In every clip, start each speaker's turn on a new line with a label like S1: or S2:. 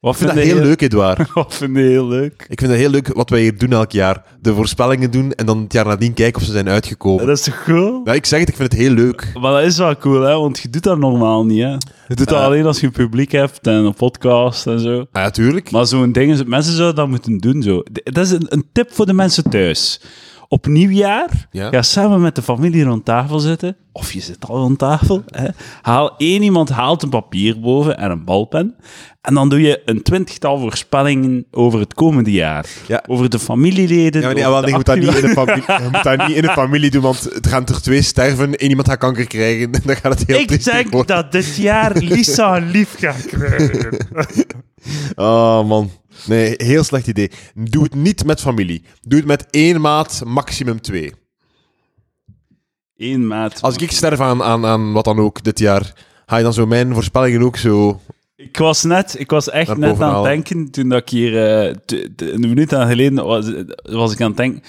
S1: Wat
S2: Ik vind
S1: vind
S2: dat
S1: je
S2: heel leuk, Edouard.
S1: Wat vind je heel leuk?
S2: Ik vind dat heel leuk wat wij hier doen elk jaar. De voorspellingen doen en dan het jaar nadien kijken of ze zijn uitgekomen.
S1: Dat is toch cool?
S2: Ja, ik zeg het, ik vind het heel leuk.
S1: Maar dat is wel cool, hè? want je doet dat normaal niet. Hè? Je doet dat
S2: Eh.
S1: alleen als je een publiek hebt en een podcast en zo.
S2: Ah, Ja, tuurlijk.
S1: Maar zo'n ding is, mensen zouden dat moeten doen. Zo. D- Dat is een, een tip voor de mensen thuis. Op nieuwjaar,
S2: Ja.
S1: ga samen met de familie rond tafel zitten. Of je zit al rond tafel. Hè. Haal één iemand haalt een papier boven en een balpen. En dan doe je een twintigtal voorspellingen over het komende jaar.
S2: Ja.
S1: Over de familieleden.
S2: Ja, maar nee,
S1: over
S2: wel,
S1: de
S2: je, moet dat niet
S1: actua-
S2: in de familie, je moet dat niet in de familie doen, want het gaan er twee sterven. één iemand gaat kanker krijgen en dan gaat het heel
S1: Ik
S2: triestig
S1: denk
S2: worden.
S1: dat dit jaar Lisa een lief gaat krijgen.
S2: Oh, man. Nee, heel slecht idee. Doe het niet met familie. Doe het met één maat, maximum twee.
S1: Eén maat.
S2: Als ik sterf aan, aan, aan wat dan ook dit jaar, ga je dan zo mijn voorspellingen ook zo...
S1: Ik was net, ik was echt
S2: Naar
S1: net aan het
S2: bovenhalen.
S1: denken toen dat ik hier eh, t- t- een minuut aan geleden was, was ik aan het denken.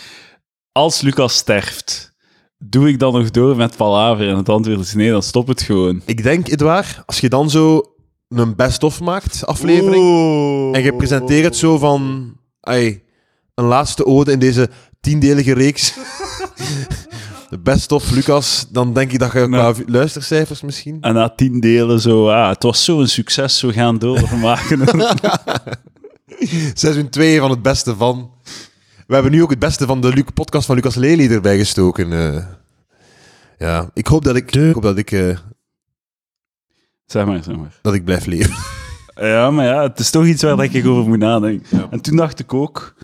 S1: Als Lucas sterft, doe ik dan nog door met palaver? En het antwoord is nee, dan stop het gewoon.
S2: Ik denk, Edouard, als je dan zo een best-of maakt, aflevering, en je presenteert het zo van... Ai, een laatste ode in deze tiendelige reeks. De best-of, Lucas. Dan denk ik dat je qua vu- luistercijfers misschien...
S1: En na tien delen zo, ah, het was zo'n succes, we gaan doormaken.
S2: Seizoen 2 van het beste van... We hebben nu ook het beste van de Luc podcast van Lucas Lely erbij gestoken. eh. Ja, ik hoop dat ik, ik, hoop dat ik, eh,
S1: zeg maar, zeg maar.
S2: dat ik blijf leven.
S1: Ja, maar ja, het is toch iets waar ik over moet nadenken. En toen dacht ik ook,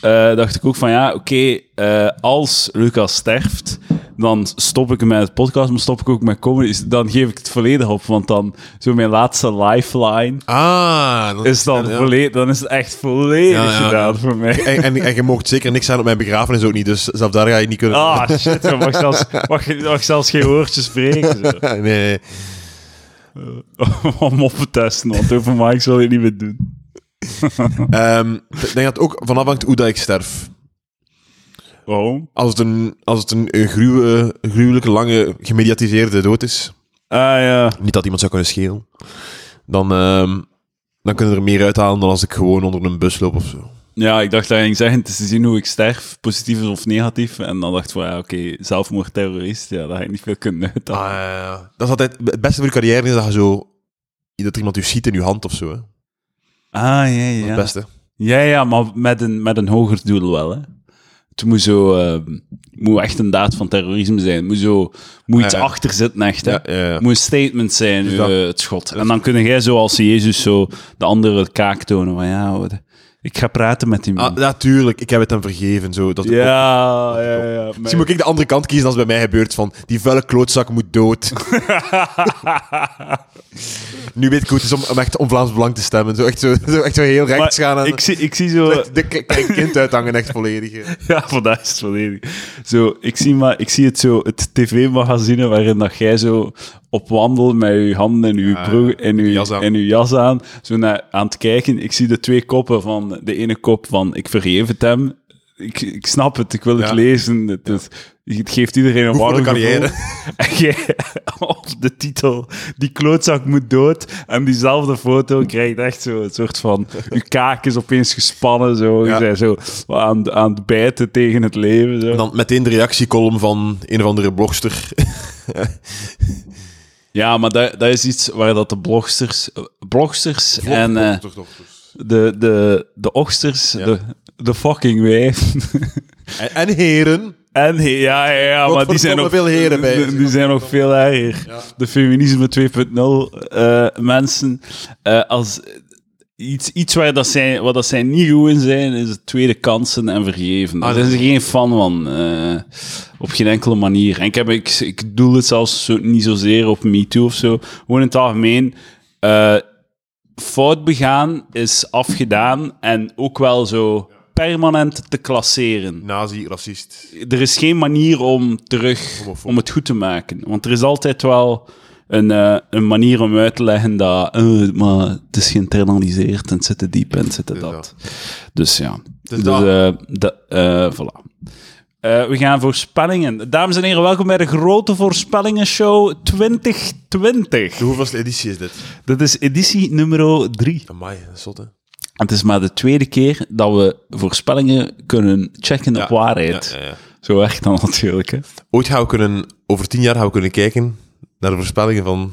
S1: eh, dacht ik ook van ja, oké, eh, als Lucas sterft, dan stop ik met het podcast, maar stop ik ook met comedy. Dan geef ik het volledig op, want dan zo mijn laatste lifeline
S2: Ah, dan-
S1: is dan
S2: ja, ja.
S1: volledig, dan is het echt volledig
S2: Ja, ja.
S1: gedaan voor mij.
S2: En, en, en je mocht zeker niks aan op mijn begrafenis ook niet, dus zelf daar ga je niet kunnen.
S1: Ah, shit, je mag zelfs, mag, je mag zelfs geen woordjes spreken. zo.
S2: Ah, Nee, nee.
S1: Om op te testen, want over Mike zal ik niet meer doen.
S2: Ehm, ik denk dat het ook van afhangt hoe dat ik sterf.
S1: Waarom?
S2: Als het een, als het een, een gruwe, gruwelijke, lange, gemediatiseerde dood is,
S1: Ah ja.
S2: niet dat iemand zou kunnen schelen, dan, ehm, dan kunnen we er meer uithalen dan als ik gewoon onder een bus loop of zo.
S1: Ja, ik dacht dat je ging zeggen, het is te zien hoe ik sterf, positief of negatief. En dan dacht ik van, ja, oké, zelfmoord, terrorist, ja, daar ga ik niet veel kunnen
S2: Ah,
S1: uit.
S2: Dat is altijd het beste voor je carrière, is dat je zo... Dat er iemand u ziet in je hand of zo. Hè. Dat
S1: Ah, ja,
S2: is
S1: ja.
S2: het beste.
S1: Ja, ja, maar met een, met een hoger doel wel, hè. Het moet zo... ehm, het moet echt een daad van terrorisme zijn. Het moet zo... het moet iets
S2: Ja, ja.
S1: achter zitten, echt, hè.
S2: Ja, ja, ja.
S1: Het moet een statement zijn,
S2: Dus
S1: uw,
S2: dat-
S1: eh, het schot. En dan kun jij zo als Jezus zo de andere kaak tonen. Van ja, wat- ik ga praten met die man.
S2: Ah, natuurlijk, ik heb het hem vergeven. Zo, dat
S1: ja, ja, ja. maar-
S2: Misschien moet ik de andere kant kiezen als het bij mij gebeurt van die vuile klootzak moet dood. nu weet ik hoe het is om, om echt om Vlaams Belang te stemmen. Zo echt zo, zo, echt zo heel
S1: maar
S2: rechts gaan en
S1: ik, zie, ik zie zo...
S2: de k- k- kind uithangen echt volledig. hè.
S1: Ja, vandaag is het volledig. Zo, ik, zie maar, ik zie het zo, het tv-magazine waarin dat jij zo op wandel met je handen en je broek en je
S2: Ah, jas aan.
S1: en je jas aan, zo naar, aan het kijken. Ik zie de twee koppen van, de ene kop van ik vergeef het hem. Ik, ik snap het, ik wil het
S2: Ja.
S1: lezen. Het, is- het geeft iedereen een
S2: voor
S1: warm
S2: de carrière.
S1: gevoel. En jij, op de titel, die klootzak moet dood. En diezelfde foto krijgt echt zo een soort van, je kaak is opeens gespannen. Zo. Je
S2: Ja.
S1: bent zo aan, aan het bijten tegen het leven. Zo.
S2: En dan meteen de reactiecolumn van een of andere blogster.
S1: Ja, maar dat, dat is iets waar dat de blogsters, eh, blogsters en eh,
S2: Blogster, blogsters.
S1: de, de, de oxters, de, de fucking wijven.
S2: en, en heren.
S1: En he- ja, ja, ja maar die zijn
S2: verdomme
S1: nog
S2: veel heren bij.
S1: Die, die zijn nog veel erger. De feminisme 2.0 eh, mensen. eh, als iets, iets waar dat zij, wat dat zij niet goed in zijn, is het tweede kansen en vergeven. Daar zijn ze geen fan van. eh, op geen enkele manier. En ik, heb, ik, ik doel het zelfs zo, niet zozeer op MeToo of zo. Gewoon in het algemeen. eh, fout begaan is afgedaan en ook wel zo permanent te klasseren
S2: Nazi, racist.
S1: er is geen manier om terug
S2: Homofoob.
S1: om het goed te maken. Want er is altijd wel een, eh, een manier om uit te leggen dat eh, maar het is geïnternaliseerd en het zit te diep en het zit te dat.
S2: dat.
S1: Dus ja. Dus
S2: dat.
S1: eh, dat, eh, voilà. Eh, Eh, we gaan voorspellingen. Dames en heren, welkom bij de grote voorspellingenshow 2020.
S2: De hoeveelste editie is dit?
S1: Dit is editie nummer 3.
S2: Amai, dat is zot, hè?
S1: Het is maar de tweede keer dat we voorspellingen kunnen checken op waarheid.
S2: Ja, ja, ja.
S1: Zo werkt dat natuurlijk. Hè.
S2: Ooit gaan we kunnen, over tien jaar gaan we kunnen kijken naar de voorspellingen van...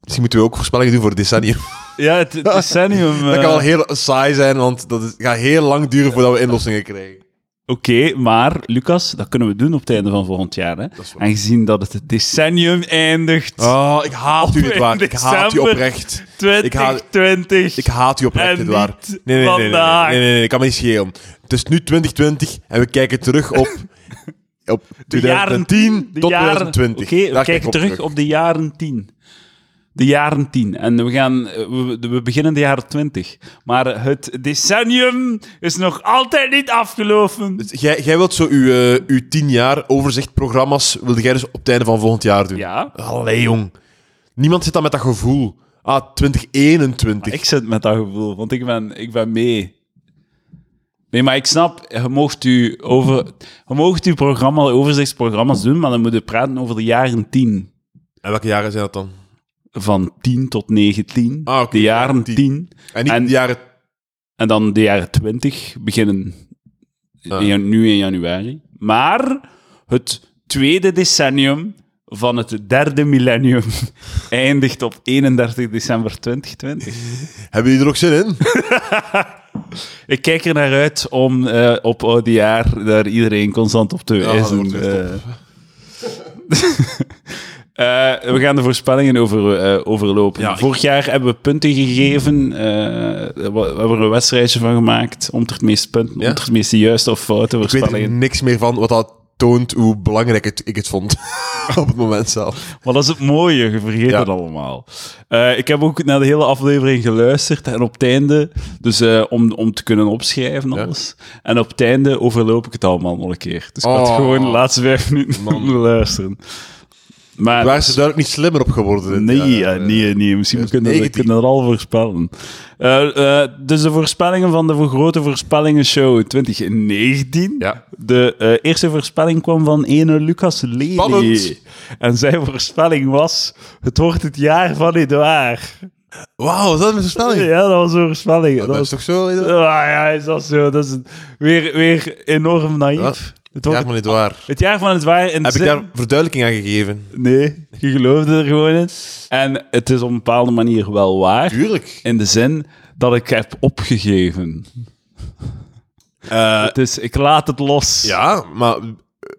S2: Misschien moeten we ook voorspellingen doen voor het decennium.
S1: Ja, het, het decennium.
S2: Dat
S1: eh,
S2: kan wel heel saai zijn, want dat is- gaat heel lang duren voordat we inlossingen krijgen.
S1: Oké, maar Lucas, dat kunnen we doen op het einde van volgend jaar. Hè?
S2: is waar.
S1: Aangezien dat het het decennium eindigt.
S2: Oh, ik haat u,
S1: in
S2: nietwaar. Ik haat u
S1: december.
S2: oprecht. Ik haat,
S1: 2020.
S2: ik haat u
S1: En
S2: oprecht, nietwaar.
S1: niet
S2: Nee, nee, nee, nee, nee,
S1: vandaag.
S2: nee, nee, nee, ik kan me niet schelen. Het is nu 2020 en we kijken terug op, op
S1: de jaren
S2: 2010
S1: de
S2: tot
S1: jaren-
S2: 2020.
S1: Oké, we
S2: Daar kijk ik
S1: kijken terug op de jaren 10. De jaren 10. En we, gaan, eh, we, we beginnen de jaren 20. Maar het decennium is nog altijd niet afgelopen.
S2: Dus Jij, jij wilt zo uw, eh, uw tien jaar overzichtprogramma's, wilde jij dus op het einde van volgend jaar doen?
S1: Ja.
S2: Allee, jong. Niemand zit dan met dat gevoel. Ah, 2021.
S1: Ik zit met dat gevoel, want ik ben, ik ben mee. Nee, maar ik snap, je mocht u over, je mocht uw programma, overzichtsprogramma's doen, maar dan moet je praten over de jaren 10.
S2: En welke jaren zijn dat dan?
S1: Van 10 tot 19.
S2: Ah, oké,
S1: de jaren 10.
S2: tien. En niet
S1: En-
S2: de jaren...
S1: En dan de jaren 20 beginnen in
S2: Ah.
S1: jan- nu in januari. Maar het tweede decennium van het derde millennium eindigt op 31 december 2020.
S2: Hebben jullie er ook zin in?
S1: Ik kijk er naar uit om eh, op oude jaar daar iedereen constant op te
S2: dat
S1: wijzen.
S2: wordt echt
S1: eh. Eh, we gaan de voorspellingen over, eh, overlopen.
S2: Ja, ik-
S1: Vorig jaar hebben we punten gegeven. eh, we, we hebben er een wedstrijdje van gemaakt. Om het meeste punten,
S2: Ja?
S1: om het meeste juiste of foute
S2: Ik weet er
S1: voorspellingen.
S2: niks meer van wat dat toont hoe belangrijk het, ik het vond. op het moment zelf.
S1: Maar dat is het mooie, je vergeet
S2: Ja.
S1: het allemaal. Eh, ik heb ook naar de hele aflevering geluisterd en op het einde, dus eh, om, om te kunnen opschrijven
S2: Ja.
S1: alles. En op het einde overloop ik het allemaal nog een keer. Dus ik had
S2: Oh.
S1: gewoon de laatste vijf minuten moeten luisteren. Maar
S2: Waar is ze duidelijk niet slimmer op geworden? dit
S1: nee, eh,
S2: jaar.
S1: ja, nee, nee, misschien
S2: dus
S1: kunnen we
S2: 19.
S1: kunnen dat al voorspellen. Eh, eh, dus de voorspellingen van de grote voorspellingenshow 2019.
S2: Ja.
S1: De eh, eerste voorspelling kwam van ene Lucas Lely.
S2: Spannend.
S1: En zijn voorspelling was: Het wordt het jaar van Edouard.
S2: Wauw, was dat een voorspelling?
S1: Ja, dat was een voorspelling.
S2: Dat,
S1: Dat
S2: is
S1: was,
S2: toch zo?
S1: ah,
S2: Ja,
S1: ja, is dat zo? Dat is een- weer, weer enorm naïef.
S2: Ja.
S1: Het, wordt,
S2: maar niet waar.
S1: het jaar van het waar. in de
S2: Heb ik
S1: zin-
S2: daar verduidelijking aan gegeven?
S1: Nee, je geloofde er gewoon in. En het is op een bepaalde manier wel waar.
S2: Tuurlijk.
S1: In de zin dat ik heb opgegeven. het is, ik laat het los.
S2: Eh, Ja, maar eh,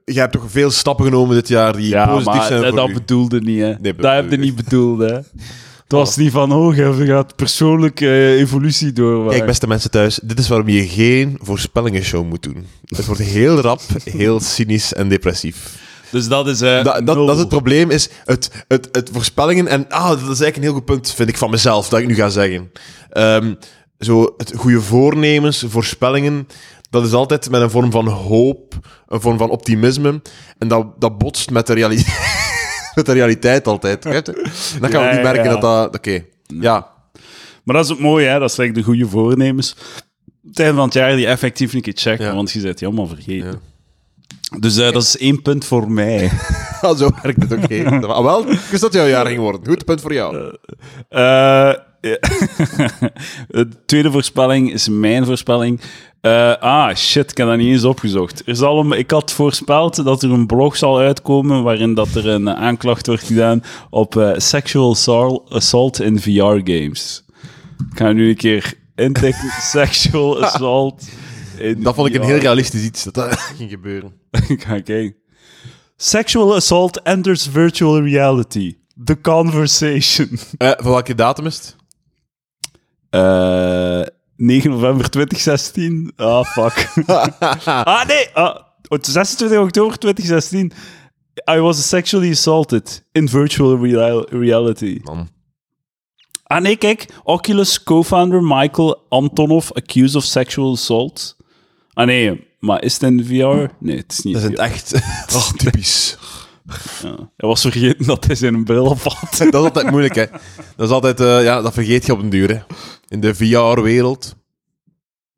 S2: jij hebt toch veel stappen genomen dit jaar die
S1: Ja,
S2: positief
S1: maar
S2: zijn
S1: dat,
S2: voor
S1: dat
S2: u.
S1: bedoelde niet, hè.
S2: Nee,
S1: dat heb je niet bedoeld, hè. Het was niet van, oh, je gaat persoonlijke eh, evolutie doormaken.
S2: Kijk, beste mensen thuis, dit is waarom je geen voorspellingenshow moet doen. Het wordt heel rap, heel cynisch en depressief.
S1: dus dat is... eh,
S2: Da- dat,
S1: nul.
S2: dat is het probleem, is het, het, het voorspellingen. En ah, dat is eigenlijk een heel goed punt, vind ik van mezelf, dat ik nu ga zeggen. Ehm, zo, het goede voornemens, voorspellingen, dat is altijd met een vorm van hoop, een vorm van optimisme. En dat, dat botst met de, reali met de realiteit altijd. begrijpt u? En Dan kan
S1: Ja,
S2: we
S1: ja,
S2: niet merken
S1: ja.
S2: dat dat... Oké, ja.
S1: Maar dat is het mooie, hè. Dat zijn de goede voornemens. Het einde van het jaar die effectief een keer checken,
S2: Ja.
S1: want je bent die allemaal vergeten. Dus eh, dat is één punt voor mij.
S2: Ah, zo werkt het ook heel. Ah, wel, ik wist dat jouw jaar ging worden. Goed punt voor jou.
S1: Eh, ja. de tweede voorspelling is mijn voorspelling. Eh, ah, shit, ik heb dat niet eens opgezocht. Er zal een- ik had voorspeld dat er een blog zal uitkomen waarin dat er een eh, aanklacht wordt gedaan op eh, sexual assault- assault in VR-games. Ik ga nu een keer intikken. sexual assault in
S2: Dat vond ik een
S1: VR.
S2: heel realistisch iets, dat dat ging gebeuren.
S1: Ik ga kijken. Sexual assault enters virtual reality. The conversation.
S2: Eh, van welke datum is het?
S1: Eh 9 november 2016. Ah, fuck. ah, nee. Ah, oh, 26 oktober 2016. I was sexually assaulted in virtual real- reality.
S2: Man.
S1: Ah, nee, kijk. Oculus co-founder Michael Antonov accused of sexual assault. Ah, nee. Maar is het in VR? Nee, het is niet.
S2: Dat is
S1: in
S2: in het echt. Oh, typisch.
S1: VR. Ja. Hij was vergeten dat hij zijn bril op had.
S2: Dat is altijd moeilijk, hè? Dat is altijd, eh, ja, dat vergeet je op een duur, hè? In de VR-wereld.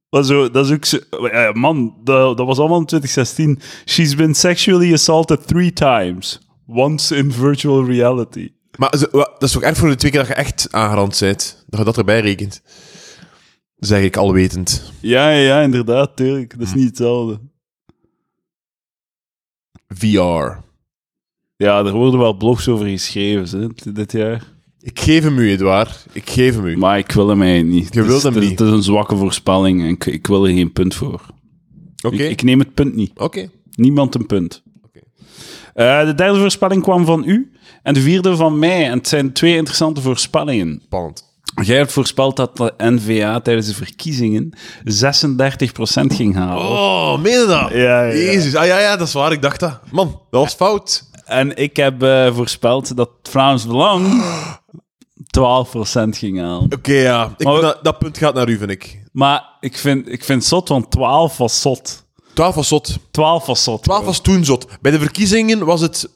S1: Maar zo, dat is ook zo, eh, man, dat, dat was allemaal in 2016. She's been sexually assaulted three times. Once in virtual reality.
S2: Maar ze- wa- dat is toch erg voor de twee keer dat je echt aangerand bent. Dat je dat erbij rekent. Zeg ik alwetend.
S1: Ja, ja, ja, inderdaad, tuurlijk. Dat is niet hetzelfde.
S2: VR.
S1: Ja, er worden wel blogs over geschreven hè, dit- dit jaar.
S2: Ik geef hem u, Edouard. Ik geef hem u.
S1: Maar ik wil hem eigenlijk niet.
S2: Je
S1: Het is-
S2: wilt hem
S1: het is-
S2: niet.
S1: Het is een zwakke voorspelling en ik, ik wil er geen punt voor.
S2: Oké.
S1: Ik, ik neem het punt niet.
S2: Oké.
S1: Niemand een punt.
S2: Oké.
S1: Eh, de derde voorspelling kwam van u en de vierde van mij. En het zijn twee interessante voorspellingen.
S2: Spannend.
S1: Jij hebt voorspeld dat de NVA tijdens de verkiezingen 36% ging halen.
S2: Oh, meen je dat?
S1: Ja, ja, ja.
S2: Jezus. Ah ja, ja, dat is waar. Ik dacht dat. Man, dat was fout.
S1: En ik heb eh, voorspeld dat het Vlaams Belang 12% ging halen.
S2: Oké, ja. Ik
S1: Maar we-
S2: vind dat, dat punt gaat naar u, vind ik.
S1: Maar ik vind, ik vind het zot, want 12 was zot.
S2: 12 was zot.
S1: 12 was zot.
S2: 12 was toen zot. Bij de verkiezingen was het,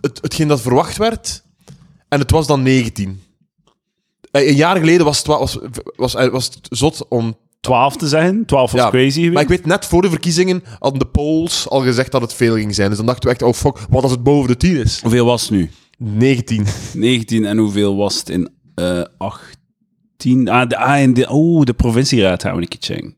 S2: het hetgeen dat verwacht werd. En het was dan 19. Eh, Een jaar geleden was het, twa- was, was, eh, was het zot om...
S1: 12 te zeggen. 12 was
S2: Ja,
S1: crazy geweest.
S2: Maar ik weet, net voor de verkiezingen hadden de polls al gezegd dat het veel ging zijn. Dus dan dachten we echt, oh fuck, wat als het boven de 10 is?
S1: Hoeveel was het nu?
S2: 19.
S1: 19 en hoeveel was het in eh 18? Ah, de, ah, in de, oh, de provincieraad gaan we een keer checken.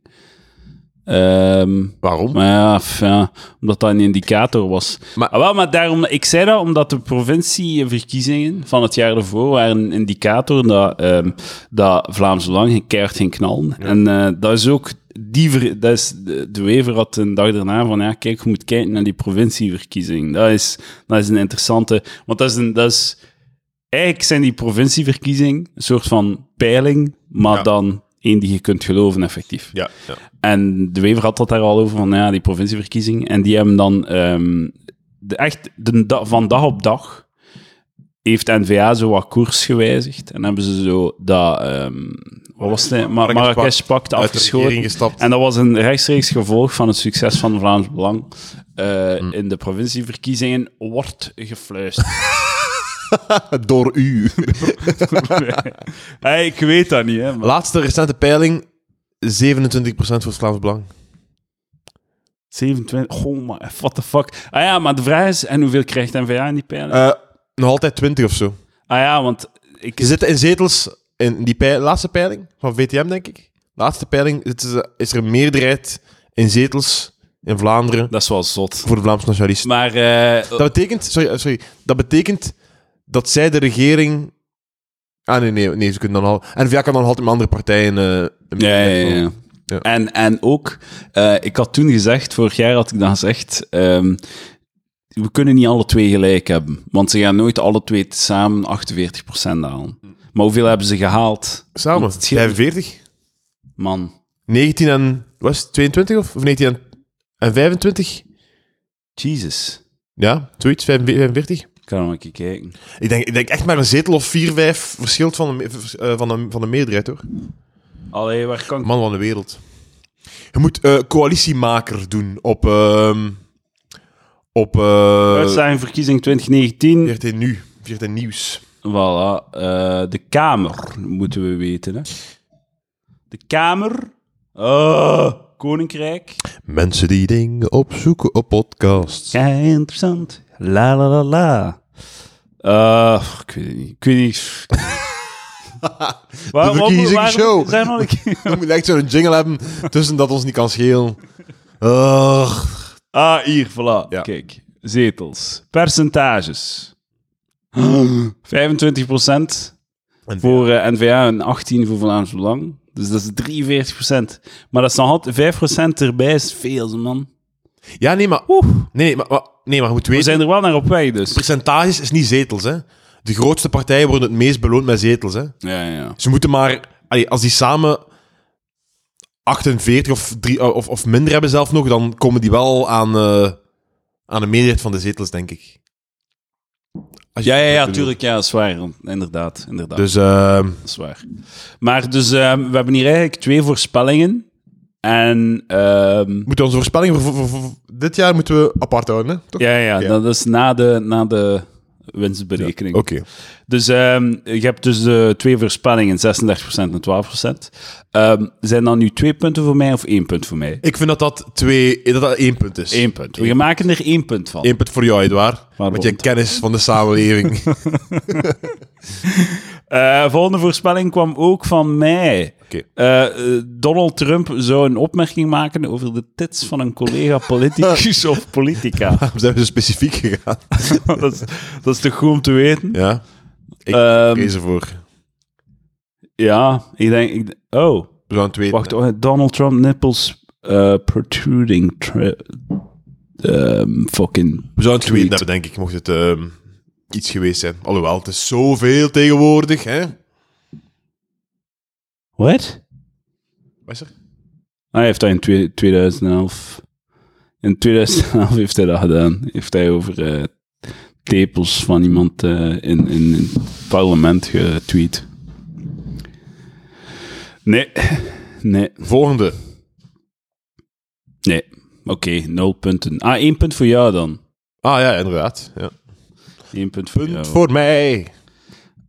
S1: Ehm,
S2: Waarom?
S1: maar ja, f- ja, omdat dat een indicator was.
S2: Maar-
S1: Maar, wel, maar daarom, ik zei dat omdat de provincieverkiezingen van het jaar ervoor waren een indicator dat, ehm, dat Vlaams Belang geen keihard ging knallen. En eh, dat is ook... Die ver- dat is, de, de Wever had een dag daarna van, ja, kijk, je moet kijken naar die provincieverkiezing. Dat is, dat is een interessante... Want dat is, een, dat is eigenlijk zijn die provincieverkiezingen een soort van peiling, maar
S2: Ja.
S1: dan één die je kunt geloven, effectief.
S2: Ja, ja.
S1: En de Wever had dat daar al over, van ja, die provincieverkiezing. En die hebben dan ehm, de, echt de, da- van dag op dag heeft N-VA zo wat koers gewijzigd. En hebben ze zo dat, ehm, wat was het, Mar-
S2: Marrakesh-pact
S1: Marrakesh-pact
S2: Uit de regering
S1: afgeschoten.
S2: gestapt.
S1: En dat was een rechtstreeks gevolg van het succes van Vlaams Belang eh, in de provincieverkiezingen wordt gefluisterd.
S2: Door u.
S1: Hey, ik weet dat niet, hè. maar-
S2: Laatste recente peiling, 27% voor het Vlaams Belang.
S1: 27, oh maar what the fuck. Ah ja, maar de vraag is, en hoeveel krijgt N-VA in die peiling?
S2: Eh, nog altijd 20 of zo.
S1: ah ja, want ik...
S2: Ze zitten in zetels in die pei- laatste peiling van VTM, denk ik. Laatste peiling zitten ze- is er een meerderheid in zetels in Vlaanderen
S1: Dat is wel zot.
S2: voor de Vlaamse nationalisten.
S1: Maar eh,
S2: Dat betekent, sorry, eh, sorry, dat betekent dat zij de regering. Ah nee, nee, nee ze kunnen dan al. En VA kan dan altijd met andere partijen. eh,
S1: Ja, ja, ja. ja.
S2: Ja.
S1: En, en ook, eh, ik had toen gezegd, vorig jaar had ik dan gezegd, ehm, we kunnen niet alle twee gelijk hebben. Want ze gaan nooit alle twee samen 48% halen. Maar hoeveel hebben ze gehaald?
S2: Samen,
S1: het scheelt-
S2: 45.
S1: Man,
S2: 19 en. Was het 22 of? Of 19 en, en 25?
S1: Jesus.
S2: Ja, zoiets, 45.
S1: Ik kan nog een keer kijken.
S2: Ik denk, ik denk echt maar een zetel of 4, 5 verschilt van de, me- vers- eh, van, de, van de meerderheid hoor.
S1: Allee, waar kan ik...
S2: Man van de wereld. Je moet eh, coalitiemaker doen op. ehm op. eh
S1: Uitslagen verkiezing 2019.
S2: 14 nu. 14 nieuws.
S1: Voilà. eh, de Kamer, moeten we weten. Hè? De Kamer. Ah, Koninkrijk.
S2: Mensen die dingen opzoeken op podcasts.
S1: Ja, interessant. La la la la. Eh, ik weet het niet. Ik weet niet. Waar- waar-
S2: verkiezingsshow.
S1: Zijn we al een keer-
S2: We moeten echt zo'n jingle hebben tussen dat ons niet kan schelen. Ugh.
S1: ah, hier, voilà.
S2: Ja.
S1: Kijk, zetels. Percentages. 25%
S2: En
S1: voor eh, N-VA en 18% voor Vlaams Belang. Dus dat is 43%. Maar dat is nog altijd 5% erbij, is veel, man.
S2: Ja, nee, maar. Nee, nee, maar, maar, nee, maar je moet
S1: We
S2: weten.
S1: zijn er wel naar op weg, dus.
S2: Percentages is niet zetels, hè? De grootste partijen worden het meest beloond met zetels, hè?
S1: Ja, ja, ja.
S2: Ze moeten maar, allee, als die samen 48 of, drie, eh, of, of minder hebben zelf nog, dan komen die wel aan, eh, aan de meerderheid van de zetels, denk ik. Als je
S1: Ja, ja,
S2: het
S1: ja,
S2: goed
S1: tuurlijk. Ja, dat is waar. Inderdaad, inderdaad.
S2: bedoelt. Dus eh,
S1: Dat is waar. Maar dus, ehm, we hebben hier eigenlijk twee voorspellingen. En ehm,
S2: we moeten onze voorspellingen voor, voor- voor- voor dit jaar moeten we apart houden, hè? Toch?
S1: ja, ja,
S2: Ja.
S1: dat is na de, na de winstberekening.
S2: Oké.
S1: Dus ehm, je hebt dus de twee voorspellingen, 36% en 12%. Ehm, zijn dat nu twee punten voor mij of één punt voor mij?
S2: Ik vind dat dat, twee, dat dat één punt is.
S1: Eén punt. We maken er één punt van.
S2: Eén punt voor jou, Edouard.
S1: Waarom?
S2: Met je kennis van de samenleving.
S1: Eh, volgende voorspelling kwam ook van mij.
S2: Oké.
S1: Eh, eh, Donald Trump zou een opmerking maken over de tits van een collega politicus of politica.
S2: Waarom zijn we zo specifiek gegaan?
S1: dat, is, dat is toch goed om te weten?
S2: Ja. Ik
S1: Ehm,
S2: kies ervoor.
S1: ja, ik denk... Ik, d- oh,
S2: We zouden het weten.
S1: wacht. oh, Donald Trump nipples eh, protruding... tri- ehm, fucking...
S2: We zouden het
S1: Tweet.
S2: geweten hebben, denk ik, mocht het ehm, iets geweest zijn. Alhoewel, het is zoveel tegenwoordig, hè?
S1: What?
S2: Wat is er?
S1: Hij heeft dat in twe- 2011... In 2011 heeft hij dat gedaan. Heeft hij over eh, tepels van iemand eh, in, in, in het parlement getweet. Nee. Nee.
S2: Volgende.
S1: Nee. Oké, nul punten. Ah, één punt voor jou dan.
S2: Ah ja, inderdaad. Ja.
S1: Eén punt voor
S2: Punt
S1: jou.
S2: voor mij.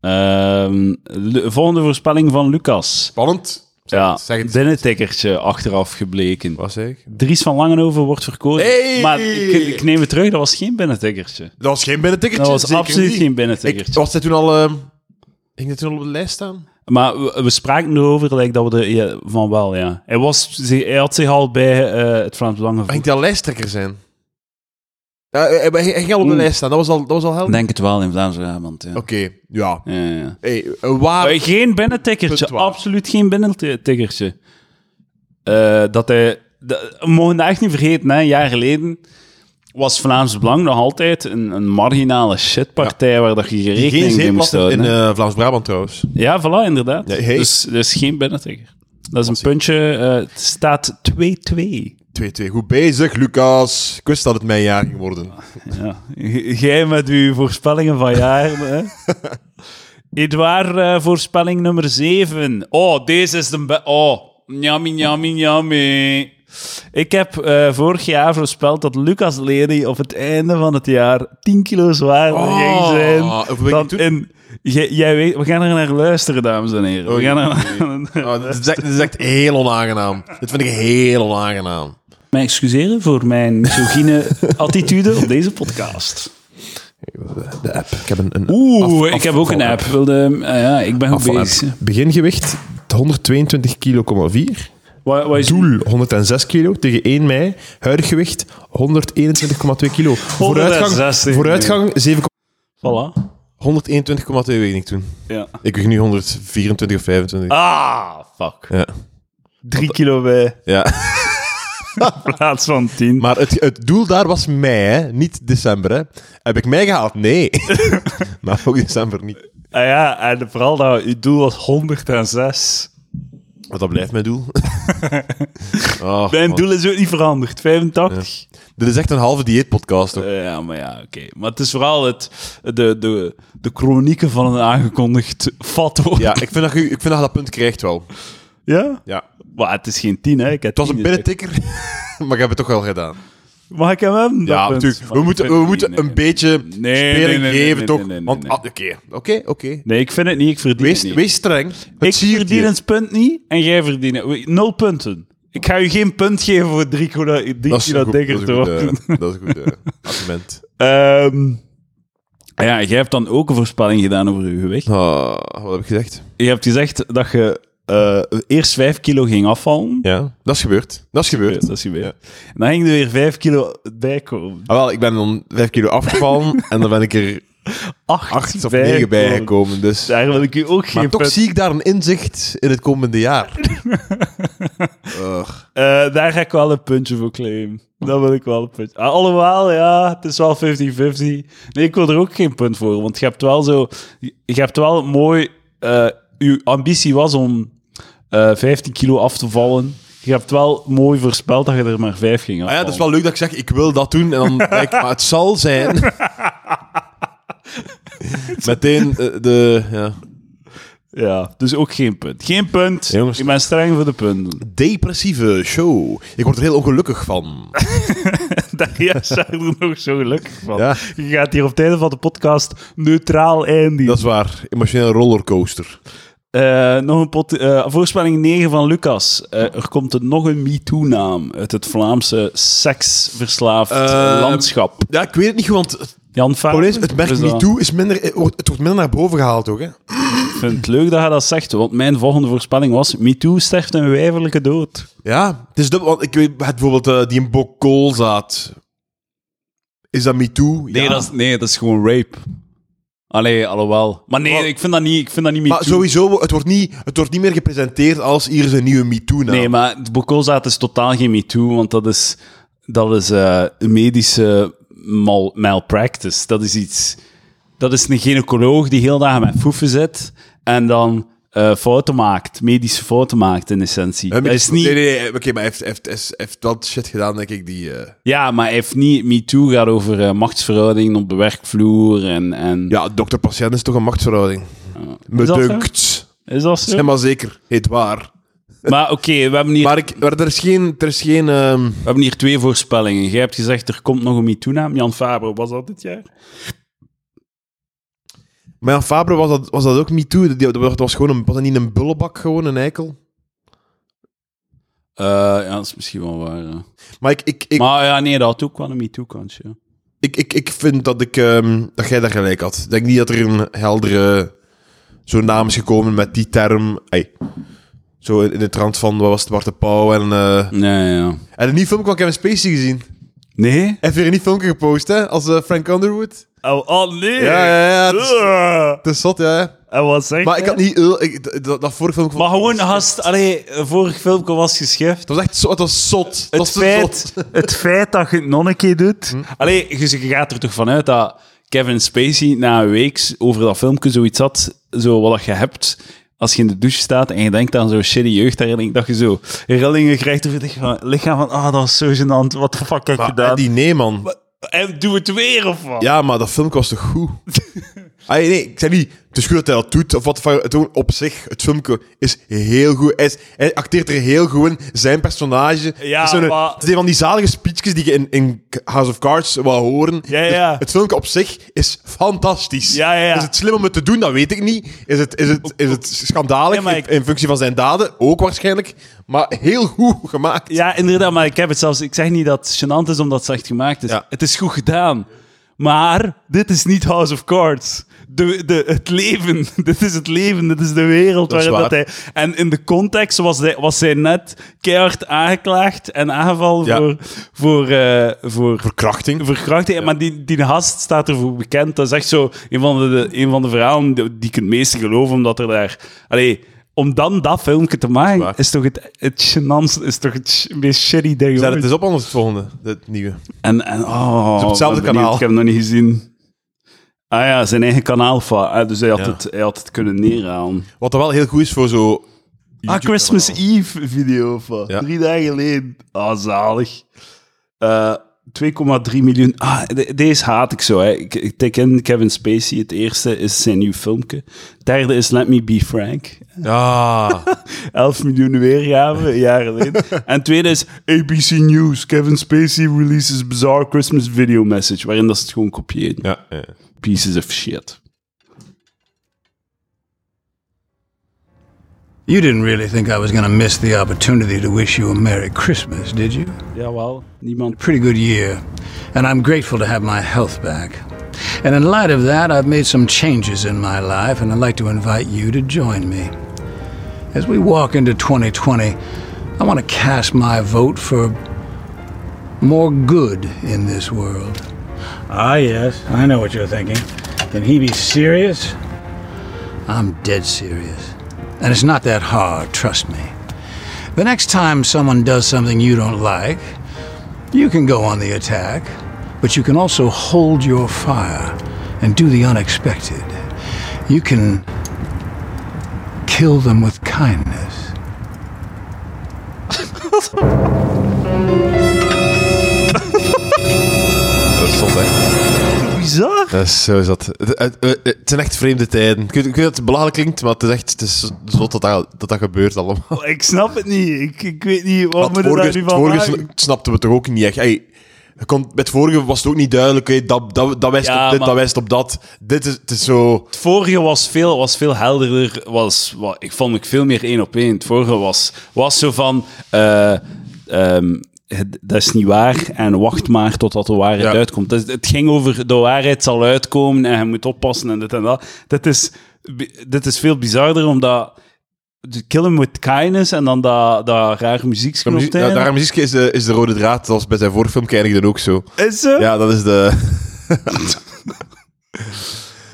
S1: Ehm, lu- volgende voorspelling van Lucas.
S2: Spannend.
S1: Ja,
S2: zeg het.
S1: binnentikkertje achteraf gebleken.
S2: Wat zeg ik?
S1: Dries van Langenhoven wordt verkozen.
S2: Hey!
S1: Maar ik, ik neem het terug, dat was geen binnentikkertje.
S2: Dat was geen binnentikkertje.
S1: Dat was
S2: zeker
S1: absoluut
S2: niet.
S1: geen
S2: Ik,
S1: binnentikkertje.
S2: was hij toen al... ehm ging dat toen al op de lijst staan?
S1: Maar we, we spraken erover like, dat we de, ja, van wel, ja. Hij, was, zich- hij had zich al bij eh, het Vlaams Belang
S2: Maar ging
S1: gevoegd.
S2: hij al lijsttrekker zijn? Ja, hij, hij- hij ging al op de
S1: Oeh.
S2: lijst staan. Dat was al, dat was al helder.
S1: denk het wel in Vlaams-Brabant, ja.
S2: Oké, ja.
S1: Ja, ja, ja.
S2: Hey, een waar...
S1: Eh, geen binnentikkertje,
S2: Punt waar.
S1: absoluut geen binnentikkertje. Eh, dat hij... dat- we mogen dat echt niet vergeten, hè. Een jaar geleden was Vlaams Belang nog altijd een, een marginale shitpartij waar dat je
S2: die geen
S1: rekening mee
S2: zeep
S1: moest
S2: was in
S1: houden. hè.
S2: eh, Vlaams-Brabant trouwens.
S1: Ja, voilà, inderdaad.
S2: Ja, hey.
S1: dus, dus geen binnentikker. Dat is een puntje. eh, het staat 2-2.
S2: 2-2. Goed bezig, Lucas. Ik wist dat het mijn jaar ging worden.
S1: Ja. G- Jij met uw voorspellingen van jaar. hè? Edouard, eh, voorspelling nummer 7. Oh, deze is de... be- Oh, njami, njami, njami. Ik heb eh, vorig jaar voorspeld dat Lucas Lely op het einde van het jaar 10 kilo zwaarder
S2: Oh,
S1: ging zijn.
S2: hoeveel week
S1: dan
S2: toen?
S1: in- Jij- jij weet, we gaan er naar luisteren, dames en heren. We
S2: Oei.
S1: gaan er naar...
S2: Ah, dit, is echt, dit is echt heel onaangenaam. Dit vind ik heel onaangenaam.
S1: Mij excuseren voor mijn misogyne attitude op deze podcast.
S2: De app. Ik heb een, een
S1: Oeh,
S2: af-
S1: ik heb ook een app. Wilde, ah ja, ik ben goed
S2: afval-app.
S1: bezig.
S2: Begingewicht 122,4 kilo.
S1: Wat, wat is
S2: Doel 106 kilo tegen 1 mei. Huidig gewicht 121,2 kilo. Vooruitgang,
S1: 160,
S2: vooruitgang 7,
S1: Voilà.
S2: 121,2 weet ik toen.
S1: Ja.
S2: Ik weeg nu 124 of 25.
S1: Ah, fuck.
S2: Ja.
S1: Drie kilo bij
S2: ja.
S1: in plaats van tien.
S2: Maar het, het doel daar was mei, hè? niet december. Hè? Heb ik mei gehaald? Nee. maar ook december niet.
S1: Ah ja, en vooral dat uw doel was 106.
S2: Want dat blijft mijn doel. Ah,
S1: Mijn
S2: man.
S1: doel is ook niet veranderd. 85.
S2: Dit is echt een halve dieetpodcast. hoor.
S1: Eh, ja, maar ja, oké. Maar het is vooral het, de, de, de chronieken van een aangekondigd fat worden.
S2: Ja, ik vind, dat je, ik vind dat je dat punt krijgt wel.
S1: ja?
S2: Ja. Het
S1: Maar het is geen tien, hè. Ik het
S2: was een binnentikker, maar ik heb het toch wel gedaan.
S1: Mag ik hem hebben? dat
S2: Ja,
S1: punt?
S2: natuurlijk.
S1: Maar
S2: We
S1: ik
S2: moeten,
S1: vind
S2: we
S1: het
S2: moeten
S1: niet,
S2: een
S1: nee.
S2: beetje
S1: nee,
S2: speling
S1: nee, nee,
S2: geven,
S1: nee,
S2: toch?
S1: nee, nee,
S2: Want,
S1: nee.
S2: ah, oké, oké, oké.
S1: Nee, ik vind het niet. Ik verdien
S2: Wees-
S1: het niet.
S2: Wees streng. Het
S1: ik
S2: siert je.
S1: verdien het punt niet en jij verdient het. We- Nul punten. Ik ga u geen punt geven voor drie kilo, drie
S2: Dat is
S1: kilo
S2: goed-
S1: dikker te
S2: dat is een
S1: worden.
S2: goed, eh, Dat is een goed eh, argument.
S1: Ehm, ja, jij hebt dan ook een voorspelling gedaan over je gewicht.
S2: Ah, wat heb ik gezegd?
S1: Je hebt gezegd dat je eh, eerst vijf kilo ging afvallen.
S2: Ja, dat is gebeurd. Dat is
S1: Ja,
S2: gebeurd.
S1: dat is gebeurd. En dan ging er weer vijf kilo bij komen.
S2: Ah, wel, ik ben dan vijf kilo afgevallen en dan ben ik er
S1: Acht,
S2: acht of negen bij
S1: bijgekomen.
S2: gekomen. Dus.
S1: Daar wil ik u ook geen
S2: maar toch
S1: punt
S2: zie ik daar een inzicht in het komende jaar. Ugh.
S1: Eh, daar ga ik wel een puntje voor claimen. Dat wil ik wel een puntje. Ah, Alhoewel, ja, het is wel 50-50. Nee, ik wil er ook geen punt voor. Want je hebt wel zo... Je hebt wel mooi... eh uw ambitie was om eh 15 kilo af te vallen. Je hebt wel mooi voorspeld dat je er maar 5 ging
S2: Ah ja,
S1: afvallen.
S2: dat is wel leuk dat ik zeg, ik wil dat doen. En dan denk ik, maar het zal zijn. Meteen eh, de... Ja.
S1: Ja, dus ook geen punt. Geen punt.
S2: Jongens.
S1: Ik ben streng voor de punten.
S2: Depressieve show. Ik word er heel ongelukkig van.
S1: Daar ja, zijn we er nog zo gelukkig van.
S2: Ja.
S1: Je gaat hier op het einde van de podcast neutraal eindigen.
S2: Dat is waar. Emotionele rollercoaster.
S1: Eh, nog een pot, eh, voorspelling 9 van Lucas. Eh, er komt een, nog een MeToo-naam uit het Vlaamse seksverslaafd
S2: Eh,
S1: landschap.
S2: Ja, ik weet het niet goed, want het,
S1: Jan Faber.
S2: probleem is, het merk
S1: Dus
S2: niet
S1: dat-
S2: toe is minder, het wordt minder naar boven gehaald ook. Hè?
S1: Ik vind het leuk dat hij dat zegt, want mijn volgende voorspelling was MeToo sterft een wijverlijke dood.
S2: Ja, het is dubbel. Want ik weet het bijvoorbeeld eh, die in Bokolzaat. Is dat me too?
S1: Nee,
S2: Ja.
S1: dat is, nee, dat is gewoon rape. Allee, alhoewel. Maar nee,
S2: Wat?
S1: ik vind dat niet, ik vind dat niet MeToo.
S2: Maar sowieso, het wordt, niet, het wordt niet meer gepresenteerd als hier is een nieuwe MeToo-naam.
S1: Nee, maar Bokolzaat is totaal geen MeToo, want dat is, dat is eh, een medische mal, malpractice. Dat is iets... Dat is een gynaecoloog die heel dagen met foeven zit en dan eh, fouten maakt, medische fouten maakt in essentie.
S2: Hè,
S1: Dat is niet,
S2: Nee, nee, nee, oké, maar hij heeft, heeft, heeft, heeft wel shit gedaan, denk ik, die... eh,
S1: Ja, maar hij heeft niet... MeToo gaat over eh, machtsverhoudingen op de werkvloer en... en
S2: Ja, dokter-patiënt is toch een machtsverhouding. Me
S1: Is dat zo?
S2: dunkt.
S1: Is dat zo?
S2: Helemaal zeker. Heet waar.
S1: Maar oké, we, hebben hier-
S2: Maar, ik, maar er is geen... Er is geen ehm,
S1: we hebben hier twee voorspellingen. Jij hebt gezegd, er komt nog een MeToo-naam. Jan Faber, was dat dit jaar?
S2: Maar ja, Fabre was dat, was dat ook MeToo. Die- Dat was, dat was gewoon een, was dat niet een bullebak, gewoon een eikel?
S1: Eh, ja, dat is misschien wel waar. ja.
S2: Maar ik, ik, ik,
S1: Maar ja, nee, dat had ook wel een MeToo-kantje. ja.
S2: ik, ik, ik vind dat, ik, ehm, dat jij daar gelijk had. Ik denk niet dat er een heldere zo'n naam is gekomen met die term. Ey. Zo in, in de trant van, wat was het, Bart de Pauw en... eh
S1: Nee, ja.
S2: en een nieuw filmpje van Kevin Spacey gezien.
S1: Nee?
S2: Hij heeft weer een nieuw filmpje gepost, hè, als eh, Frank Underwood.
S1: Oh, oh, nee!
S2: Ja, ja, ja. Het is,
S1: Ugh.
S2: het is zot, ja. hè.
S1: En wat zeg
S2: Maar ik
S1: je?
S2: had niet... eh, ik- dat, dat, dat vorige filmpje...
S1: Maar gewoon, gast, allee, vorig filmpje was geschift.
S2: Het was echt zo, het was zot. Het,
S1: Het
S2: was te
S1: feit,
S2: zot. Hm.
S1: het feit dat je het nog een keer doet... Allee, je, je gaat er toch vanuit dat Kevin Spacey na een week over dat filmpje zoiets had, zo wat dat je hebt... Als je in de douche staat en je denkt aan zo'n shitty jeugdherinnering, dat je zo rillingen krijgt over het lichaam- lichaam van, ah, dat is zo gênant, wat de fuck heb ik
S2: Maar eh,
S1: gedaan?
S2: Eddie, nee, man.
S1: En doe het weer, of wat?
S2: Ja, maar dat filmpje was toch goed? Ai, nee, ik zei niet, het is goed dat hij dat doet. Of wat, voor- het gewoon op zich, het filmpje is heel goed. Hij, is- hij acteert er heel goed in, zijn personage.
S1: Ja,
S2: het, is zo'n-
S1: maar-
S2: het is een van die zalige speeches die je in, in House of Cards wou horen. Dus
S1: Ja, ja.
S2: Het, het filmpje op zich is fantastisch.
S1: Ja, ja, ja.
S2: Is het slim om het te doen? Dat weet ik niet. Is het, is het, is het schandalig
S1: Ja, maar ik-
S2: in, in functie van zijn daden? Ook waarschijnlijk. Maar heel goed gemaakt.
S1: Ja, inderdaad, maar ik heb het zelfs. Ik zeg niet dat het gênant is omdat het slecht gemaakt is.
S2: Ja.
S1: Het is goed gedaan. Maar dit is niet House of Cards. De, de, het leven. Dit is het leven. Dit is de wereld
S2: Dat is
S1: waarin dat
S2: waar.
S1: hij. En in de context was, hij, was zij net keihard aangeklaagd en aangevallen
S2: Ja.
S1: voor, voor, eh, voor
S2: Verkrachting.
S1: verkrachting. Maar die, die gast staat ervoor bekend. Dat is echt zo een van de, de- een van de verhalen die die ik het meeste geloof, omdat er daar... Allee, om dan dat filmpje te maken,
S2: waar.
S1: is, toch het, het gênantste- is toch het sh- meest shitty ding.
S2: Ja,
S1: ooit.
S2: het is op anders het volgende, het nieuwe.
S1: En, en oh...
S2: op hetzelfde
S1: ik ben
S2: kanaal.
S1: Ik heb hem nog niet gezien. Ah ja, zijn eigen kanaal. van- Ah, dus hij had,
S2: Ja.
S1: het, hij had het kunnen neerhalen.
S2: Wat dan wel heel goed is voor zo...
S1: Ah,
S2: YouTube-kanaal.
S1: Christmas Eve video van
S2: Ja.
S1: drie dagen geleden. Ah, zalig. Eh, 2,3 miljoen. Ah, de- deze haat ik zo. Hè. Ik, ik tik in Kevin Spacey. Het eerste is zijn nieuw filmpje. Het derde is Let Me Be Frank.
S2: Ja.
S1: 11 miljoen weergaven, een jaar geleden. en het tweede is ABC News. Kevin Spacey releases bizarre Christmas video message. Waarin dat ze het gewoon kopieert.
S2: ja, ja.
S1: Pieces of shit.
S3: You didn't really think I was going to miss the opportunity to wish you a Merry Christmas, did you?
S1: Jawel, niemand.
S3: Pretty good year, and I'm grateful to have my health back. And in light of that, I've made some changes in my life, and I'd like to invite you to join me. As we walk into 2020, I want to cast my vote for more good in this world.
S4: Ah, yes, I know what you're thinking. Can he be serious?
S3: I'm dead serious. And it's not that hard, trust me. The next time someone does something you don't like, you can go on the attack, but you can also hold your fire and do the unexpected. You can kill them with kindness.
S2: Dat is zot, hè.
S1: Bizar.
S2: Dat is, zo is dat. Het, het- het- het zijn echt vreemde tijden. Ik weet, ik weet dat het belachelijk klinkt, maar het is echt het is zot dat dat, dat, dat gebeurt allemaal.
S1: Ik snap het niet. Ik, ik weet niet wat
S2: Want
S1: moet
S2: het
S1: er daar
S2: vorige,
S1: nu
S2: het
S1: van
S2: vorige
S1: maken.
S2: sn- snapten we toch ook niet echt. Ey, je kon, bij het vorige was het ook niet duidelijk. hé, dat, dat, dat wijst
S1: Ja,
S2: op dit,
S1: maar-
S2: dat wijst op dat. Dit is, het is zo...
S1: Het vorige was veel, was veel helderder. Was, wa- ik vond ik veel meer één op één. Het vorige was, was zo van. eh, ehm, het- dat is niet waar en wacht maar totdat de waarheid
S2: Ja.
S1: uitkomt. Dus het ging over de waarheid zal uitkomen en je moet oppassen en dit en dat. Dit is, bi- dit is veel bizarder omdat de Kill 'em with Kindness en dan dat, dat raar muziekje
S2: Ja,
S1: op
S2: muziek,
S1: het einde.
S2: ja, daarom muziek is de, is de rode draad. Dat was bij zijn vorige film eindigde dat ook zo.
S1: Is ze?
S2: Ja, dat is de...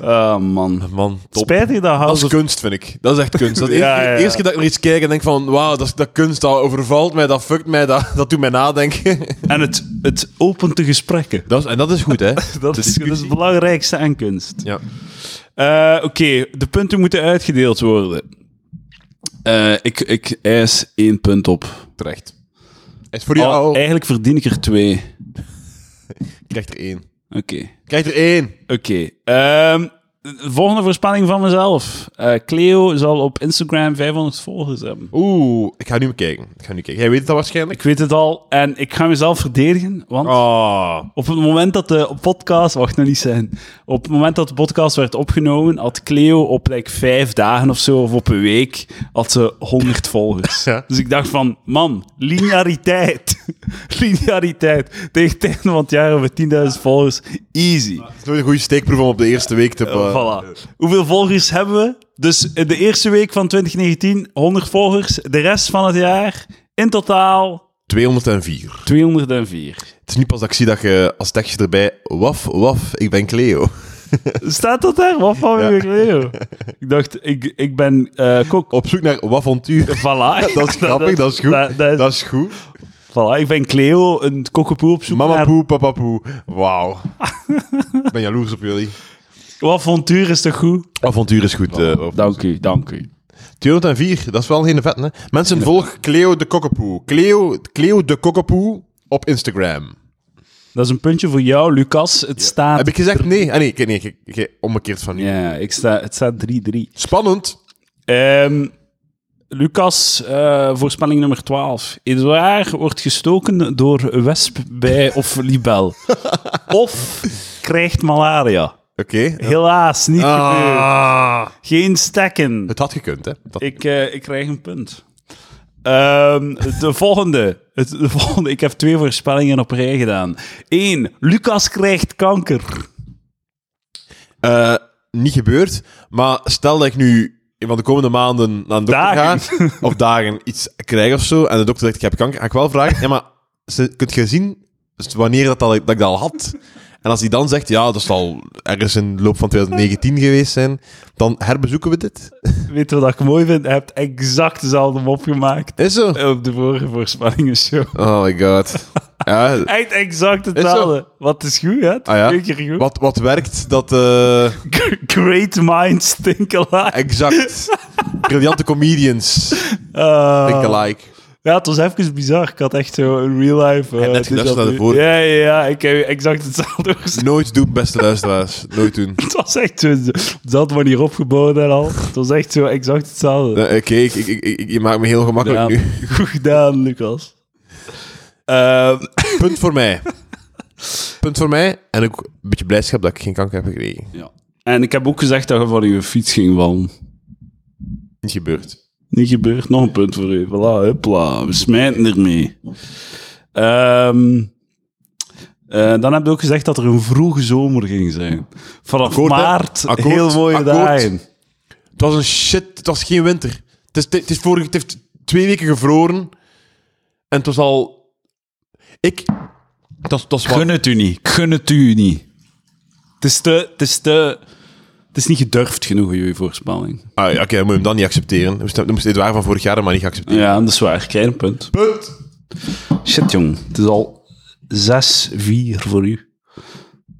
S1: Ah, man.
S2: Man, top.
S1: Spijtig dat
S2: Dat
S1: House
S2: is
S1: of...
S2: kunst, vind ik. Dat is echt kunst. Dat is de
S1: Ja,
S2: eerste-
S1: ja, ja.
S2: eerste keer dat ik naar iets kijk en denk van... Wauw, dat, is- dat kunst, dat overvalt mij, dat fuckt mij, dat, dat doet mij nadenken.
S1: En het, het opent de gesprekken.
S2: Dat is, en dat is goed, hè?
S1: Dat is, dat is het belangrijkste aan kunst.
S2: Ja.
S1: Eh, Oké, de punten moeten uitgedeeld worden. Eh, ik, ik eis één punt op.
S2: Terecht. Is voor
S1: Al-
S2: jou.
S1: Oh, eigenlijk verdien ik er twee.
S2: Ik krijg er één.
S1: Oké.
S2: Ik krijg er één.
S1: Oké. Ehm, de volgende voorspelling van mezelf. Eh, Cleo zal op Instagram 500 volgers hebben.
S2: Oeh, ik ga nu kijken. Ik ga nu kijken. Jij weet het al waarschijnlijk.
S1: Ik weet het al en ik ga mezelf verdedigen, want
S2: Oh.
S1: op het moment dat de podcast... Wacht, nou niet zijn. Op het moment dat de podcast werd opgenomen, had Cleo op like, vijf dagen of zo, of op een week, had ze 100 volgers.
S2: Ja.
S1: Dus ik dacht van, man, lineariteit. lineariteit. Tegen het einde van het jaar hebben we 10.000 volgers. Easy.
S2: Het is nooit een goede steekproef om op de eerste week te...
S1: Eh, voilà. Hoeveel volgers hebben we? Dus in de eerste week van 2019, 100 volgers. De rest van het jaar, in totaal
S2: 204.
S1: 204.
S2: Het is nu pas dat ik zie dat je als tekstje erbij... Waf, waf, ik ben Cleo.
S1: Staat dat daar? Wat van
S2: Ja.
S1: weer Cleo? Ik dacht, ik, ik ben eh kok.
S2: Op zoek naar wafontuur.
S1: Voilà.
S2: Oh. Dat is grappig, dat is goed.
S1: Dat, dat is-
S2: Dat is goed.
S1: voilà, ik ben Cleo, een kokkenpoe op zoek
S2: Mama
S1: naar...
S2: poe, papa poe. Wauw. Ik ben jaloers op jullie.
S1: Wat avontuur is toch goed?
S2: Avontuur is goed. eh, Waf.
S1: Dank u, dank u.
S2: 204, dat is wel geen vet, hè? Mensen, volg Cleo de Kokkepoe. Cleo, Cleo de Kokkepoe op Instagram.
S1: Dat is een puntje voor jou, Lucas. Het staat...
S2: Heb ik gezegd nee? Ah, nee, ik- nee, ik- ik- omgekeerd van nu.
S1: Ja, ik sta, het staat 3-3.
S2: Spannend.
S1: Ehm, Lucas, eh, voorspelling nummer 12. Edouard wordt gestoken door wesp bij of libel. of krijgt malaria.
S2: Oké.
S1: Helaas, niet gebeurd.
S2: Ah.
S1: Geen stekken.
S2: Het had gekund, hè? Dat-
S1: Ik, eh, ik krijg een punt. Ehm, de, volgende. Het, de volgende. Ik heb twee voorspellingen op rij gedaan. Eén. Lucas krijgt kanker.
S2: Eh, niet gebeurd. Maar stel dat ik nu in van de komende maanden naar de dokter
S1: Dagen.
S2: ga, of dagen iets krijg of zo, en de dokter zegt, ik heb kanker, ga ik wel vragen, ja, maar ze, kunt je zien s- wanneer dat, al- dat ik dat al had? En als hij dan zegt, ja, dat zal ergens in de loop van 2019 geweest zijn, dan herbezoeken we dit.
S1: Weet je wat ik mooi vind? Hij hebt exact dezelfde mop gemaakt.
S2: Is zo?
S1: Op de vorige voorspellingenshow.
S2: Oh my god. Ja,
S1: Echt exact
S2: Is
S1: hetzelfde. Wat is goed, hè? Het is
S2: Ah ja.
S1: Twee keer goed.
S2: wat, wat werkt, dat... eh,
S1: Great minds think alike.
S2: exact. Briljante comedians.
S1: Ah.
S2: Think alike.
S1: Ja, het was even bizar. Ik had echt zo een real life... eh,
S2: net
S1: dit
S2: geluisterd
S1: had
S2: naar de
S1: nu-
S2: vorige.
S1: Ja, ja, ja. Ik heb exact hetzelfde gezegd.
S2: Nooit doen, beste luisteraars. Nooit doen.
S1: Het was echt zo... Op dezelfde manier opgebouwd en al. Het was echt zo exact hetzelfde.
S2: Eh, Oké, ik, ik, ik- ik- je maakt me heel gemakkelijk
S1: Ja,
S2: nu.
S1: Goed gedaan, Lucas. Ehm,
S2: Punt voor mij. Punt voor mij. En ook een beetje blijdschap dat ik geen kanker heb gekregen.
S1: ja. En ik heb ook gezegd dat je van uw fiets ging vallen.
S2: Niet gebeurd.
S1: Niet gebeurd. Nog een punt voor u. Voilà, huppla. We smijten ermee. Ehm, eh, dan heb je ook gezegd dat er een vroege zomer ging zijn. Vanaf
S2: Akkoord, hè?
S1: maart
S2: Akkoord,
S1: heel mooie
S2: akkoord.
S1: dagen.
S2: Het was een shit. Het was geen winter. Het, is, het, is vorige, het heeft twee weken gevroren. En het was al... Ik... Het was, het was wat...
S1: Gun het u niet. Gun het u niet. Het is te... Het is te... Het is niet gedurfd genoeg, jullie voorspelling.
S2: Ah, ja, Oké, dan moet je hem dan niet accepteren. Dan moest, dan moest Edouard van vorig jaar hem maar niet accepteren.
S1: Ja, dat is waar. Klein punt.
S2: Punt.
S1: Shit, jong. Het is al 6-4 voor u.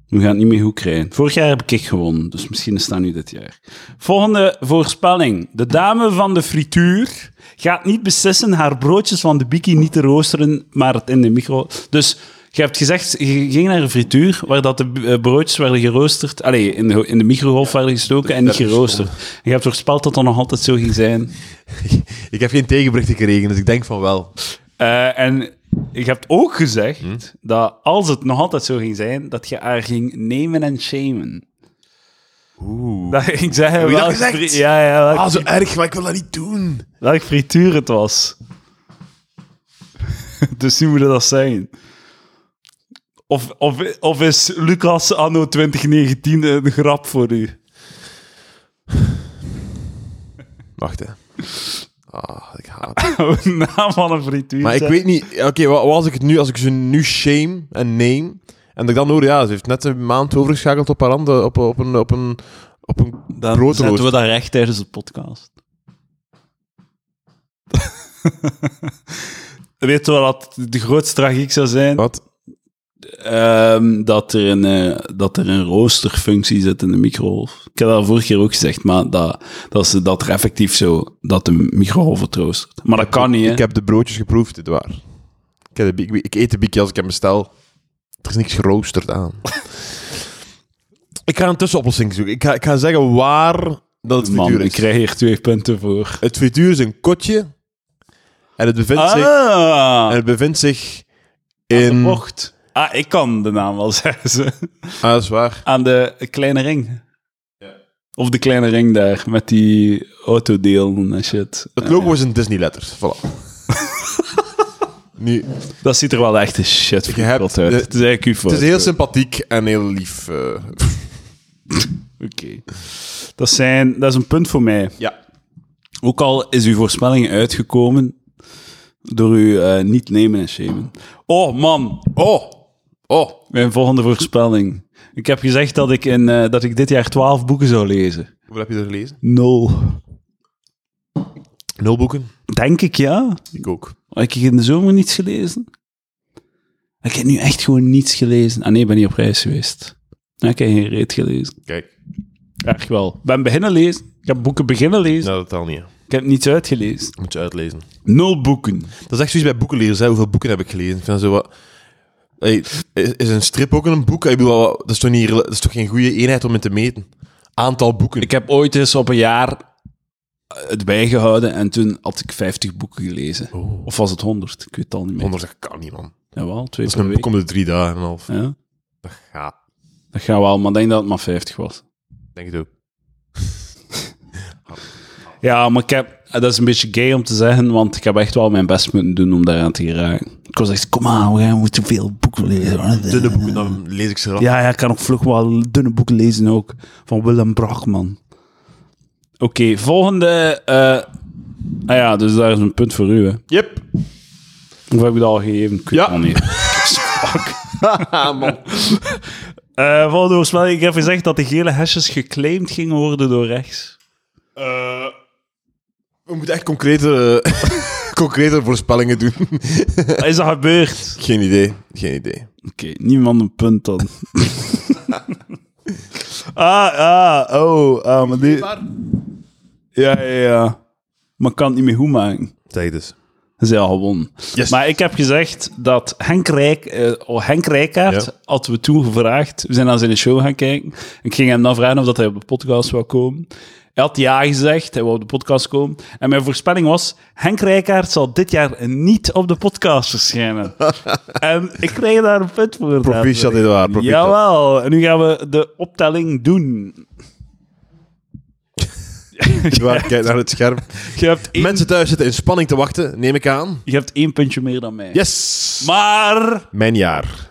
S1: We gaan het niet meer goed krijgen. Vorig jaar heb ik gewonnen, dus misschien is dat nu dit jaar. Volgende voorspelling. De dame van de frituur gaat niet beslissen haar broodjes van de biki niet te roosteren, maar het in de micro... Dus Je hebt gezegd, je ging naar een frituur waar dat de eh, broodjes werden geroosterd. Allee, in de, in de microgolf werden gestoken en niet geroosterd. En je hebt voorspeld dat dat nog altijd zo ging zijn.
S2: Ik heb geen tegenbericht gekregen, dus ik denk van wel.
S1: Eh, en je hebt ook gezegd
S2: Hm?
S1: dat als het nog altijd zo ging zijn, dat je haar ging nemen en shamen. Oeh. Dat ik zei
S2: je dat
S1: welk
S2: gezegd?
S1: fri- Ja, ja, welk,
S2: Ah, zo erg, maar ik wil dat niet doen.
S1: welk frituur het was. dus nu moet je dat zijn. Of, of, of is Lucas anno 2019 een grap voor u?
S2: Wacht, hè. Ah, ik haat het.
S1: Een naam van een frituur.
S2: Maar ik
S1: zeg.
S2: weet niet... ja, Oké, wa- wat als ik het nu... Als ik ze nu shame en name... En dat ik dan hoor, ja, ze heeft net een maand overgeschakeld op haar handen, op, op een... Op een op een
S1: Dan
S2: broodrooster.
S1: zetten we dat recht tijdens de podcast. Weet je wat de grootste tragiek zou zijn?
S2: Wat?
S1: Ehm, dat, er een, eh, dat er een roosterfunctie zit in de microgolf. Ik heb dat vorige keer ook gezegd, maar dat, dat, ze, dat er effectief zo... Dat de microgolf het roostert. Maar dat kan niet, hè?
S2: Ik heb de broodjes geproefd, dit waar. Ik, heb de, bie- ik, ik eet de bikkie als ik hem bestel. Er is niks geroosterd aan. ik ga een tussenoplossing zoeken. Ik ga, ik ga zeggen waar dat het frituur
S1: Man, ik
S2: is.
S1: krijg hier twee punten voor.
S2: Het frituur is een kotje. En het bevindt, zich, en
S1: Ah,
S2: het bevindt zich
S1: de
S2: in...
S1: bocht. Ah, ik kan de naam wel zeggen. ze.
S2: ah, dat is waar.
S1: Aan de kleine ring. Of de kleine ring daar, met die autodelen en shit.
S2: Het logo is in Disney-letters. Voilà. nu,
S1: Dat ziet er wel echt een shit
S2: Je hebt
S1: verkot uit.
S2: de-
S1: het is eigenlijk uw
S2: het
S1: fout.
S2: is heel sympathiek en heel lief. eh.
S1: Oké. Dat, zijn, dat is een punt voor mij.
S2: ja.
S1: Ook al is uw voorspelling uitgekomen door u eh, niet nemen en shamen. Oh man,
S2: Oh! Oh!
S1: mijn volgende voorspelling. Ik heb gezegd dat ik, in, eh, dat ik dit jaar twaalf boeken zou lezen.
S2: Hoeveel heb je er gelezen?
S1: Nul.
S2: Nul boeken.
S1: Denk ik ja.
S2: Ik ook.
S1: Heb ik in de zomer niets gelezen? Ik heb nu echt gewoon niets gelezen. Ah nee, ik ben niet op reis geweest. Ja, Ik heb geen reet gelezen.
S2: Kijk,
S1: Echt wel. Ik ben beginnen lezen. Ik heb boeken beginnen lezen.
S2: nou, dat al niet. hè.
S1: Ik heb niets uitgelezen.
S2: Moet je uitlezen.
S1: Nul boeken.
S2: Dat is echt zoiets bij boekenlezers. Hè. Hoeveel boeken heb ik gelezen? Ik vind dat zo wat... Hey, is is een strip ook een boek? Ik bedoel, dat is toch, niet, rela- dat is toch geen goede eenheid om in te meten? Aantal boeken.
S1: Ik heb ooit eens op een jaar het bijgehouden en toen had ik 50 boeken gelezen. Of was het 100? Ik weet het al niet meer.
S2: 100, dat kan niet, man.
S1: Jawel, twee
S2: Dat is
S1: per
S2: een
S1: week.
S2: boek om de drie dagen en een half.
S1: Ja,
S2: Dat gaat.
S1: dat gaat wel, maar ik denk dat het maar 50 was.
S2: Denk het ook.
S1: Ja, maar ik heb, eh, dat is een beetje gay om te zeggen, want ik heb echt wel mijn best moeten doen om daaraan te geraken. Ik was echt, kom aan, we gaan- we moeten veel boeken lezen.
S2: Dunne boeken, dan lees ik ze eraf.
S1: Ja, ja, ik kan ook vlug wel dunne boeken lezen ook. Van Willem Brachman. Oké, volgende. eh ah ja, dus daar is een punt voor u. Hè.
S2: Yep.
S1: Of heb ik dat al gegeven? Ik weet
S2: Ja.
S1: het al niet.
S2: Ah, man.
S1: Eh, volgende voorspelling. Ik heb gezegd dat de gele hesjes geclaimd gingen worden door rechts.
S2: We moeten echt concrete, concrete voorspellingen doen.
S1: Is dat gebeurd?
S2: Geen idee. Geen idee.
S1: Oké, niemand een punt dan. ah, ah, oh. ah, maar die... Ja, ja, ja. Maar ik kan het niet meer goed maken.
S2: Zeg dus.
S1: Ze al gewonnen.
S2: Yes.
S1: Maar ik heb gezegd dat Henk, Rijk, eh, oh, Henk Rijkaard
S2: Ja.
S1: had we toen gevraagd. We zijn naar zijn show gaan kijken. Ik ging hem dan vragen of dat hij op de podcast wou komen. Hij had ja gezegd, hij wou op de podcast komen. En mijn voorspelling was, Henk Rijkaard zal dit jaar niet op de podcast verschijnen. en ik kreeg daar een punt voor.
S2: Proficiat, Edouard. Proficiat.
S1: Jawel, en nu gaan we de optelling doen.
S2: Edouard, kijk naar het scherm.
S1: Je hebt één,
S2: Mensen thuis zitten in spanning te wachten, neem ik aan.
S1: je hebt één puntje meer dan mij.
S2: Yes!
S1: Maar...
S2: Mijn jaar.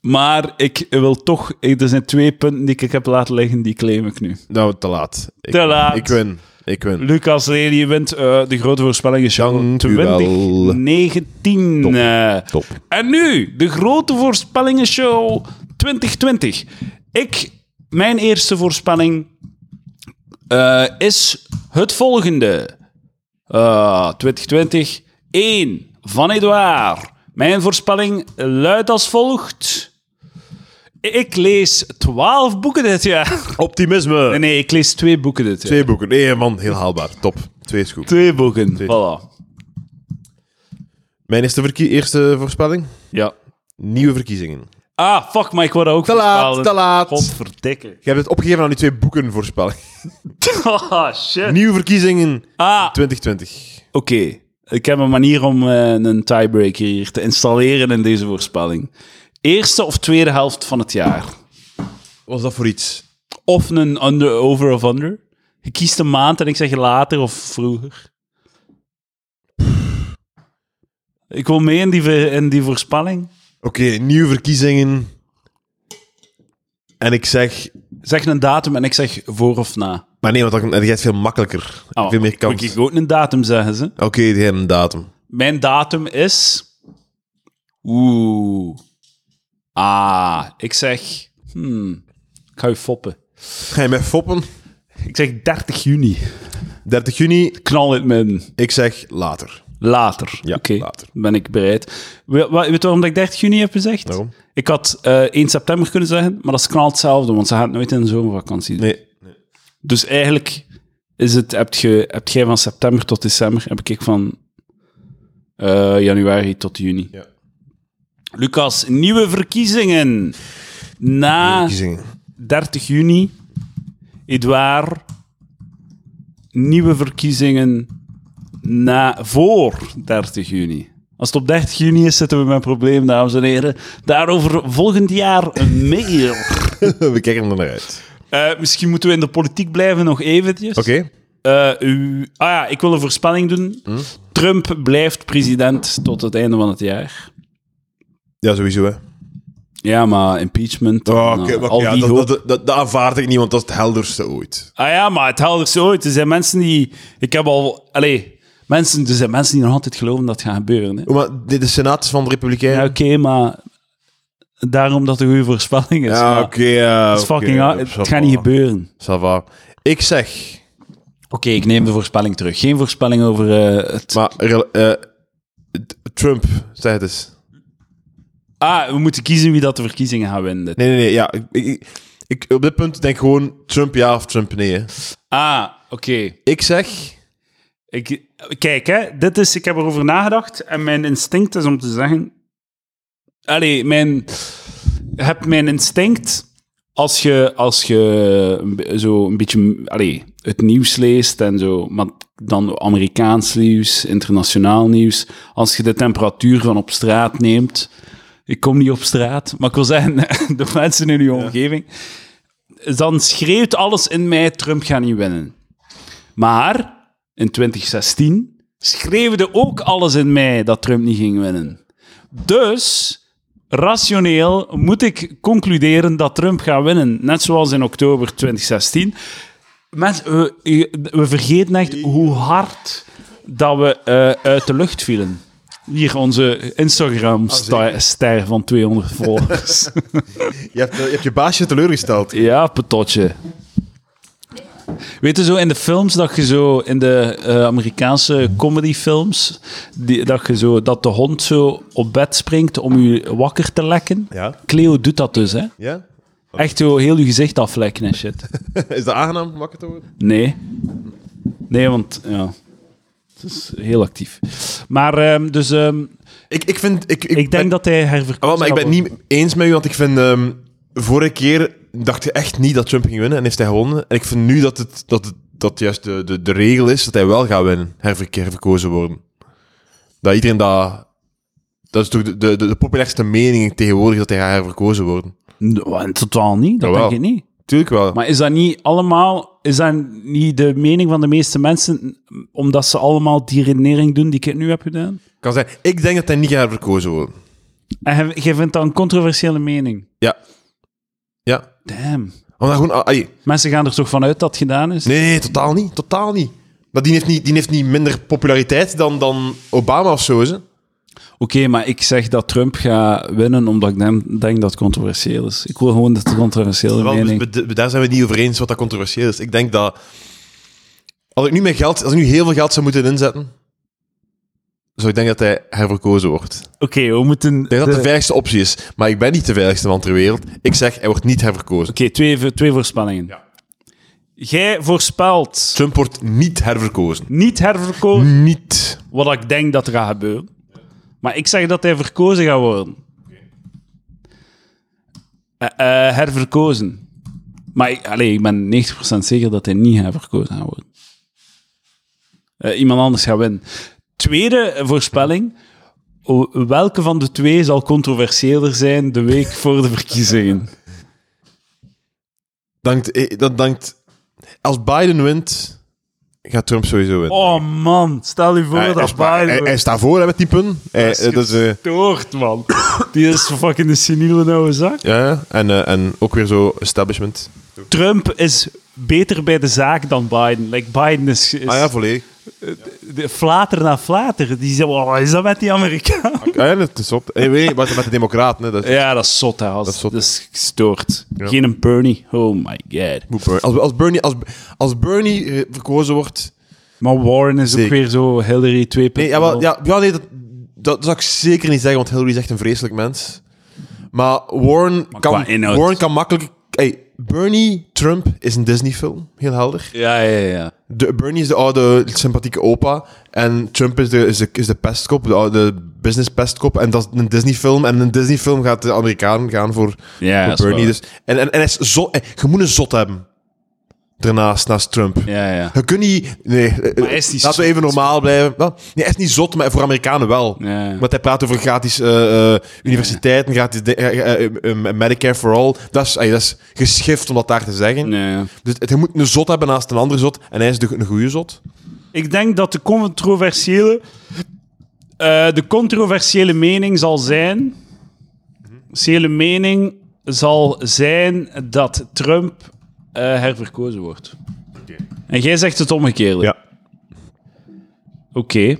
S1: Maar ik wil toch... ik- er zijn twee punten die ik heb laten liggen, die claim ik nu.
S2: Nou, te laat. Ik,
S1: Te laat.
S2: Ik win. Ik win.
S1: Lucas Lely wint eh, de grote voorspelling is
S2: Dank u wel.
S1: 2019.
S2: Top.
S1: Eh,
S2: Top.
S1: En nu, de grote voorspellingenshow 2020. Ik, mijn eerste voorspelling eh, is het volgende. Eh, 2020, 1 van Edouard. Mijn voorspelling luidt als volgt. Ik lees 12 boeken dit jaar.
S2: Optimisme.
S1: Nee, nee, ik lees twee boeken dit jaar.
S2: Twee boeken. Nee, man, heel haalbaar. Top. Twee is goed.
S1: Twee boeken. Voilà.
S2: Mijn eerste, verkie- eerste voorspelling.
S1: Ja.
S2: Nieuwe verkiezingen.
S1: Ah, fuck, maar ik wou dat ook
S2: Te laat,
S1: voorspellen.
S2: te laat.
S1: Godverdikke.
S2: Je hebt het opgegeven aan die twee boeken voorspelling.
S1: Ah, shit.
S2: Nieuwe verkiezingen
S1: Ah,
S2: 2020.
S1: Oké, ik heb een manier om eh, een tiebreaker hier te installeren in deze voorspelling. Eerste of tweede helft van het jaar.
S2: Wat was dat voor iets?
S1: Of een under, over of under. Je kiest een maand en ik zeg later of vroeger. Ik wil mee in die, ver- in die voorspelling.
S2: Oké, nieuwe verkiezingen. En ik zeg...
S1: Zeg een datum en ik zeg voor of na.
S2: Maar nee, want dan dan jij het veel makkelijker.
S1: Oh,
S2: veel meer
S1: Moet
S2: kans.
S1: ik ook een datum zeggen ze?
S2: Oké, die hebben een datum.
S1: Mijn datum is. Oeh. Ah, ik zeg. Hmm. Ik ga je foppen.
S2: Ga je mij foppen?
S1: Ik zeg 30 juni.
S2: 30 juni.
S1: Knal het min.
S2: Ik zeg later.
S1: Later.
S2: Ja,
S1: Oké,
S2: later.
S1: ben ik bereid. We- wa- Weet je waarom dat ik 30 juni heb gezegd?
S2: Waarom?
S1: Ik had eh, 1 september kunnen zeggen, maar dat is knal hetzelfde, want ze gaat nooit in de zomervakantie. doen.
S2: Nee.
S1: Dus eigenlijk is het, heb, je, heb jij van september tot december, heb ik van eh, januari tot juni.
S2: Ja.
S1: Lucas, nieuwe verkiezingen. Na
S2: Verkiezingen.
S1: 30 juni, Edouard, nieuwe verkiezingen na, voor 30 juni. Als het op 30 juni is, zitten we met een probleem, dames en heren. Daarover volgend jaar een mail.
S2: We kijken er naar uit.
S1: Eh, misschien moeten we in de politiek blijven nog eventjes.
S2: Oké.
S1: Eh, uw- ah ja, ik wil een voorspelling doen.
S2: Hm?
S1: Trump blijft president tot het einde van het jaar.
S2: Ja, sowieso, hè.
S1: Ja, maar impeachment.
S2: Oh,
S1: en,
S2: Ah, oké,
S1: eh,
S2: maar
S1: al
S2: ja,
S1: die
S2: dat,
S1: hoop-
S2: dat, dat, dat aanvaard ik niet, want dat is het helderste ooit.
S1: Ah ja, maar het helderste ooit. Er zijn mensen die... Ik heb al... Allee, mensen, er zijn mensen die nog altijd geloven dat het gaat gebeuren. Hè.
S2: Oh, maar dit is Senaat is van de Republikeinen.
S1: Ja, oké, maar... Daarom dat het een goede voorspelling is.
S2: Ja,
S1: maar
S2: oké. ja,
S1: het is
S2: oké,
S1: fucking
S2: ja,
S1: hard.
S2: ça
S1: Het gaat niet
S2: va.
S1: gebeuren.
S2: Ça va. Ik zeg,
S1: Oké, ik neem de voorspelling terug. Geen voorspelling over eh, het...
S2: maar rel- eh, t- Trump, zeg het eens.
S1: Ah, we moeten kiezen wie dat de verkiezingen gaat winnen.
S2: Nee, nee, nee. Ja, ik, ik, ik- op dit punt denk ik gewoon Trump ja of Trump nee. hè.
S1: Ah, oké.
S2: Ik zeg,
S1: Ik, kijk, hè, dit is, ik heb erover nagedacht en mijn instinct is om te zeggen. Allee, mijn, heb mijn instinct. Als je, als je een be- zo een beetje allee, het nieuws leest en zo, maar dan Amerikaans nieuws, internationaal nieuws. Als je de temperatuur van op straat neemt. Ik kom niet op straat, maar ik wil zeggen, de mensen in uw omgeving. Dan schreeuwt alles in mij: Trump gaat niet winnen. Maar in 2016 schreeuwde ook alles in mij dat Trump niet ging winnen. Dus rationeel moet ik concluderen dat Trump gaat winnen, net zoals in oktober 2016. Mensen, we, we vergeten echt hoe hard dat we eh, uit de lucht vielen. Hier onze Instagram-ster van 200 volgers.
S2: je hebt, eh, je hebt je baasje teleurgesteld.
S1: Ja, patotje. Weet je zo in de films dat je zo in de eh, Amerikaanse comedyfilms die, dat je zo dat de hond zo op bed springt om je wakker te lekken?
S2: Ja?
S1: Cleo doet dat dus, hè?
S2: Ja?
S1: Echt zo heel je gezicht aflekken en shit.
S2: Is dat aangenaam om wakker te worden?
S1: Nee. Nee, want ja. Het is heel actief. Maar ehm, dus ehm,
S2: Ik, ik vind... Ik, ik,
S1: ik denk
S2: ben-
S1: dat hij herverkozen
S2: Ah, wel, maar ik ben het
S1: gaat
S2: niet eens met u, want ik vind... ehm, vorige keer dacht je echt niet dat Trump ging winnen en heeft hij gewonnen. En ik vind nu dat het, dat het dat juist de, de, de regel is dat hij wel gaat winnen, herver- herverkozen worden. Dat iedereen dat... Dat is toch de, de, de populairste mening tegenwoordig, dat hij gaat herverkozen worden.
S1: worden. Nou, in totaal niet. Dat
S2: Jawel.
S1: denk ik niet.
S2: Tuurlijk Ah, wel.
S1: Maar is dat niet allemaal, is dat niet de mening van de meeste mensen, m, omdat ze allemaal die redenering doen die ik nu heb gedaan?
S2: kan zijn. Ik denk dat hij niet gaat herverkozen worden.
S1: En jij- jij vindt dat een controversiële mening?
S2: Ja. Ja.
S1: Damn.
S2: Omdat gewoon... ah, ai.
S1: Mensen gaan er toch vanuit dat het gedaan is?
S2: Nee, nee, totaal niet. Totaal niet. Maar die heeft niet, die heeft niet minder populariteit dan, dan Obama of zo, is hè?
S1: Oké, maar ik zeg dat Trump gaat winnen omdat ik dem- denk dat het controversieel is. Ik wil gewoon dat de controversiële
S2: Wel, dus
S1: mening...
S2: be- be- daar zijn we het niet over eens wat dat controversieel is. Ik denk dat als ik nu mijn geld, als ik nu heel veel geld zou moeten inzetten, zou ik denken dat hij herverkozen wordt. Ik
S1: Oké, we moeten...
S2: denk dat dat de
S1: de-
S2: veiligste optie is, maar ik ben niet de veiligste man ter wereld. Ik zeg, hij wordt niet herverkozen.
S1: Oké, twee, twee voorspellingen. Jij voorspelt
S2: Trump wordt niet herverkozen.
S1: niet herverkozen.
S2: Niet.
S1: wat ik denk dat er gaat gebeuren. Maar ik zeg dat hij verkozen gaat worden. eh, eh, herverkozen. Maar ik, allee, ik ben 90% zeker dat hij niet herverkozen gaat worden. Eh, iemand anders gaat winnen. Tweede voorspelling. O- Welke van de twee zal controversiëler zijn de week voor de verkiezingen?
S2: Dankt, eh, dat dankt... Als Biden wint, gaat Trump sowieso winnen.
S1: Oh man, stel je voor
S2: hij,
S1: dat
S2: hij, sta- hij,
S1: Biden...
S2: hij staat voor hè, met die punten. Hij, eh, dat is, eh,
S1: gestoord, man. Die is fucking de seniele nauwe zak.
S2: ja, ja. en, eh, en ook weer zo establishment.
S1: Trump is beter bij de zaak dan Biden. Like, Biden is, is eh,
S2: Ah ja, volledig.
S1: de- flater na flater. Die zegt, "Wow, wat is dat met die Amerikaan?
S2: Ah, ja, dat is op. Ik weet niet, wat met de democraten. Hè, dat is-
S1: Ja, dat is zot, hè. Dat
S2: is
S1: is,
S2: zot.
S1: gestoord.
S2: Ja.
S1: Geen een Bernie. Oh my god.
S2: Moet Bernie- Eh, Als, als, Bernie, als, als Bernie eh, verkozen wordt...
S1: Maar Warren is ook
S2: Zeker.
S1: weer zo Hillary 2.0.
S2: Nee, ja, wel, ja, ja, nee dat, dat zou ik zeker niet zeggen, want Hillary is echt een vreselijk mens. Maar Warren,
S1: qua
S2: kan,
S1: inhoud.
S2: Warren kan makkelijk... Hey, Bernie Trump is een Disney-film, heel helder.
S1: ja, ja, ja.
S2: De, Bernie is de oude sympathieke opa. En Trump is de, is de, is de pestkop, de oude business pestkop. En dat is een Disney-film. En een Disney-film gaat de Amerikaan gaan voor,
S1: Ja,
S2: voor
S1: dat is
S2: Bernie.
S1: waar.
S2: Dus, en, en, en hij is zot, eh, je moet een zot hebben. Daarnaast, naast Trump.
S1: Ja, ja.
S2: Je kunt niet... Nee, eh,
S1: hij is niet
S2: laten we
S1: zot.
S2: even normaal blijven. Wel, nee, hij is niet zot, maar voor Amerikanen wel.
S1: Ja.
S2: Want hij praat over gratis eh, eh, universiteiten, gratis de- eh, eh, eh, Medicare for All. Dat is, eh, dat is geschift om dat daar te zeggen.
S1: Nee.
S2: Dus het, je moet een zot hebben naast een andere zot. En hij is de, een goede zot.
S1: Ik denk dat de controversiële... eh, de controversiële mening zal zijn...
S2: Mhm.
S1: Controversiële mening zal zijn dat Trump eh, herverkozen wordt. En jij zegt het omgekeerde.
S2: Ja.
S1: Oké.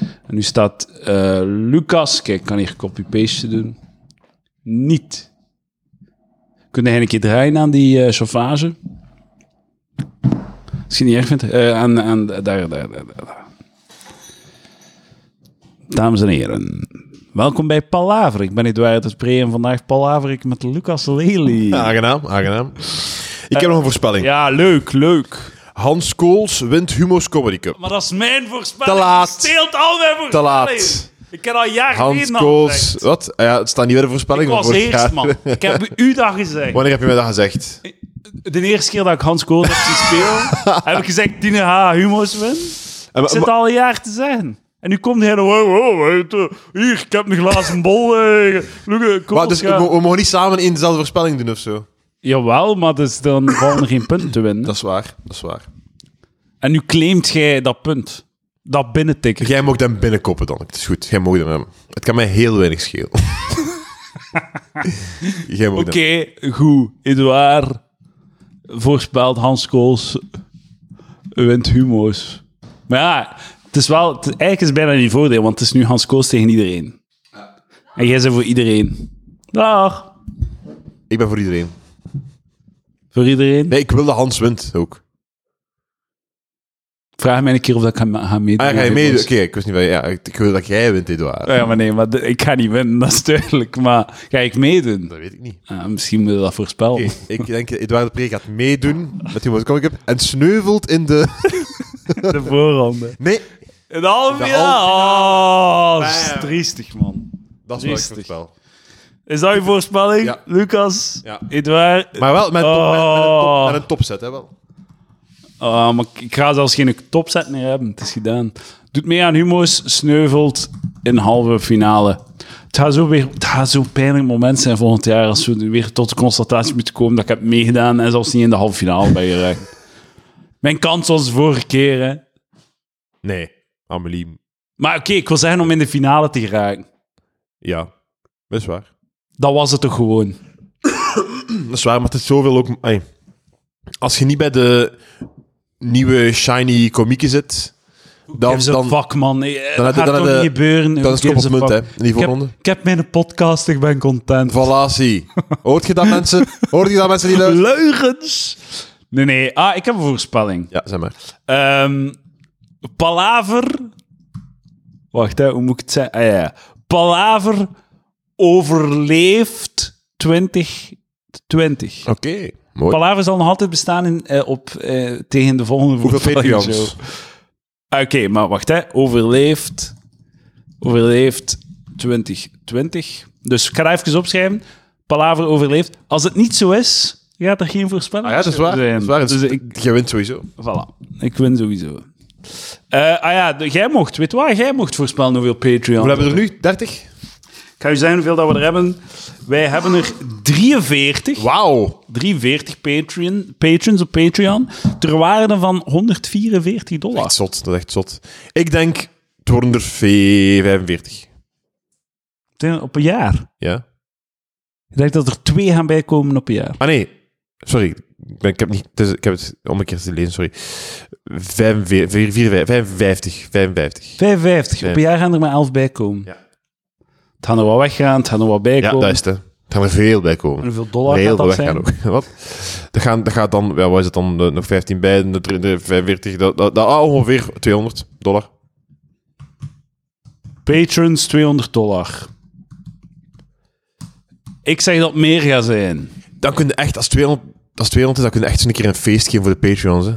S1: En nu staat eh, Lucas... Kijk, ik kan hier copy-paste doen. Niet. Kun jij een keer draaien aan die eh chauffage? Als je het niet erg vindt. eh, aan, aan, daar, daar, daar, daar, daar. Dames en heren. Welkom bij Palaver. Ik ben Eduard de Spree en vandaag Palaver ik met Lucas Lely. Ja, Eh,
S2: Aangenaam, aangenaam. Ik heb nog een voorspelling.
S1: leuk, leuk.
S2: Hans Kools wint Humo's Comedy Cup.
S1: Maar dat is mijn voorspelling.
S2: Te laat.
S1: Je steelt al mijn voorspelling.
S2: laat.
S1: Ik ken al jaren
S2: Hans
S1: geleden al
S2: Kools...
S1: gezegd.
S2: Wat? Ah ja, het staat niet bij de voorspelling.
S1: Ik was
S2: van vorig
S1: eerst,
S2: jaar.
S1: man. Ik heb u dat gezegd.
S2: Wanneer heb je mij dat gezegd?
S1: De eerste keer dat ik Hans Kool heb zien spelen, heb ik gezegd, Tine H. Humo's win.
S2: Eh,
S1: Ik
S2: maar-
S1: zit al een jaar te zeggen. En nu komt hij en... Wow, wow, weet je, hier, ik heb een glazen bol. eh, Look, eh, kom
S2: Maar
S1: eens
S2: dus we,
S1: gaan.
S2: we mogen niet samen in dezelfde voorspelling doen of zo.
S1: Jawel, maar dus dan vallen er geen punten te winnen.
S2: Dat is waar, dat is waar.
S1: En nu claimt jij dat punt. Dat binnentikken.
S2: Jij mag hem binnenkoppen dan. Het is goed, jij mag hem hebben. Het kan mij heel weinig schelen. jij mag
S1: Oké,
S2: hem.
S1: goed. Edouard voorspelt Hans Kools wint humo's. Maar ja, het is wel... Het, eigenlijk is het bijna niet voordeel, want het is nu Hans Kools tegen iedereen. En jij bent voor iedereen. Dag.
S2: Ik ben voor iedereen.
S1: Voor iedereen.
S2: Nee, ik wil dat Hans wint ook.
S1: Vraag mij een keer of dat ik ga, ga meedoen.
S2: Ah, ga je
S1: met
S2: mee? Oké,
S1: humo's.
S2: ik wist niet van... Ja, ik ik wil dat jij wint, Edouard.
S1: Ja, maar nee, maar de- ik ga niet winnen, dat is duidelijk. Maar ga ik meedoen?
S2: Dat weet ik niet.
S1: Ah, misschien moet je dat voorspellen.
S2: Oké, ik denk dat Edouard de Pre gaat meedoen met die Comic Cup en sneuvelt in de...
S1: De voorronde.
S2: Nee,
S1: Een halve
S2: De
S1: finale. Oh, dat is
S2: Bam.
S1: triestig, man.
S2: dat is wel
S1: Rustig.
S2: echt spel.
S1: Is dat je voorspelling,
S2: Ja.
S1: Lucas?
S2: Ja.
S1: Edouard?
S2: Maar wel met, een top- met- met een, top,
S1: Oh.
S2: met een topset, hè wel.
S1: Ah, maar ik- ik ga zelfs geen topset meer hebben. Het is gedaan. Doet mee aan Humo's, sneuvelt in halve finale. Het gaat zo weer, het gaat zo'n pijnlijk moment zijn volgend jaar als we weer tot de constatatie moeten komen dat ik heb meegedaan en zelfs niet in de halve finale ben geraakt. Mijn kans was de vorige keer, hè.
S2: Nee, Amelie,
S1: Maar oké, ik wil zeggen om in de finale te geraken.
S2: ja. Dat is waar.
S1: Dat was het toch gewoon.
S2: Dat is waar, maar het is zoveel ook... ai. als je niet bij de nieuwe shiny komieken zit, dan,
S1: Geef ze
S2: dan,
S1: een vak, man. Eh,
S2: heb
S1: dat
S2: je-
S1: gaat
S2: dan
S1: toch
S2: heb je-
S1: niet gebeuren.
S2: dan is het
S1: Geef
S2: kop
S1: ze
S2: op munt, hè,
S1: vak.
S2: in die
S1: Ik heb-
S2: voorronde.
S1: Ik heb mijn podcast, ik ben content.
S2: Valatie. Hoort je dat, mensen? Hoort je dat, mensen die luisteren?
S1: Leugens! Nee, nee. Ah, ik heb een voorspelling.
S2: Ja, zeg maar.
S1: Ehm, palaver... Wacht, hè, hoe moet ik het zeggen? Ah, ja, ja. Palaver overleeft 2020.
S2: Oké, mooi.
S1: Palaver zal nog altijd bestaan in, eh, op, eh, tegen de volgende
S2: Hoeveel
S1: voorspelling
S2: Patreons?
S1: show. Ah, Oké, maar wacht hè. Overleeft, overleeft 2020. Dus ik ga dat even opschrijven. Palaver overleeft. Als het niet zo is, gaat er geen voorspelling
S2: Ah ja, dat is waar.
S1: zijn.
S2: Dat is waar.
S1: Dus
S2: Dus
S1: ik,
S2: Jij wint sowieso.
S1: voilà. Ik win sowieso. Eh, ah ja, de- jij mocht, weet waar? Jij mocht voorspellen hoeveel Patreon.
S2: We hebben er nu 30.
S1: Ik ga u zeggen hoeveel dat we er hebben. Wij hebben er 43.
S2: Wauw.
S1: 43 Patreon, patrons op Patreon. Ter waarde van 144 dollar.
S2: Echt zot, dat is echt zot. Ik denk, het worden er 45.
S1: Ten- Op een jaar.
S2: Ja?
S1: Ik denk dat er twee gaan bijkomen op een jaar.
S2: Ah nee, sorry. Ik, ben, ik, heb, niet, het is- ik heb het om een keer te lezen, sorry. 45, 55, 55.
S1: 55. Op een jaar gaan er maar 11 bijkomen.
S2: Ja.
S1: Het gaan er wat weggaan, het gaan er wat
S2: Ja,
S1: bijkomen.
S2: dat is het. hè. Er gaan er veel bij komen.
S1: En hoeveel dollar
S2: heel
S1: gaat dat
S2: veel
S1: zijn?
S2: weggaan ook. Wat? Dat gaan, dat gaat dan, ja, wat is het dan, eh, nog 15 bij, de drie- de 45, dat, dat, dat- ah, ongeveer 200 dollar.
S1: Patrons 200 dollar. Ik zeg dat het meer gaat zijn.
S2: Dan kun je echt, als 200, als 200 is, dan kun je echt eens een keer een feest geven voor de Patreons. Hè.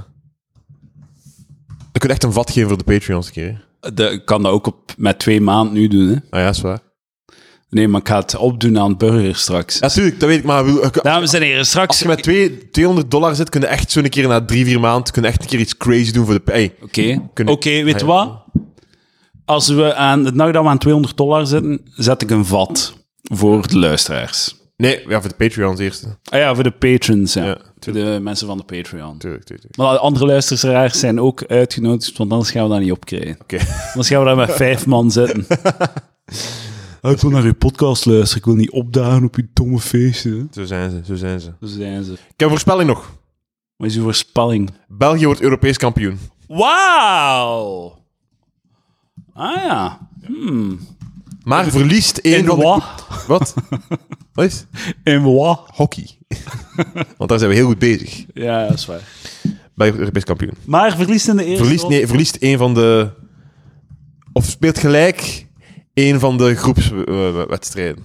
S2: Dan kun je echt een vat geven voor de Patreons een keer. hè.
S1: De, ik kan dat ook op, met twee maanden nu doen. Hè?
S2: Ah ja, is waar.
S1: Nee, maar ik ga het opdoen aan burger straks.
S2: Ja, tuurlijk, dat weet ik, maar ik bedoel,
S1: Dames en heren, straks...
S2: als je met twee, 200 dollar zit, kun je echt zo'n keer na drie, vier maanden, kun je echt een keer iets crazy doen voor de... Hey,
S1: Oké,
S2: Kunnen-
S1: Oké, weet je
S2: Ah, ja.
S1: wat? Als we aan de dag dat we aan 200 dollar zitten, zet ik een vat voor de luisteraars.
S2: nee, ja, voor de Patreons eerst. hè.
S1: Ah ja, voor de patrons, ja.
S2: Ja,
S1: voor de mensen van de Patreon.
S2: Tuurlijk, tuurlijk.
S1: Maar de andere luisteraars zijn ook uitgenodigd, want anders gaan we dat niet opkrijgen.
S2: Oké.
S1: Anders gaan we daar met vijf man zitten. ik wil naar uw podcast luisteren, ik wil niet opdagen op uw domme feesten.
S2: Zo zijn ze, zo zijn ze.
S1: Zo zijn ze.
S2: Ik heb een voorspelling nog.
S1: Wat is uw voorspelling?
S2: België wordt Europees kampioen.
S1: Wauw! Ah ja. Hmm.
S2: Maar verliest één
S1: In
S2: van de-
S1: wat?
S2: Wat? Wat is?
S1: In wat?
S2: Hockey. Want daar zijn we heel goed bezig.
S1: Ja, dat is waar.
S2: België wordt Europees kampioen.
S1: Maar verliest in de eerste
S2: Verliest,
S1: ronde.
S2: nee, verliest één van de... Of speelt gelijk één van de groepswedstrijden.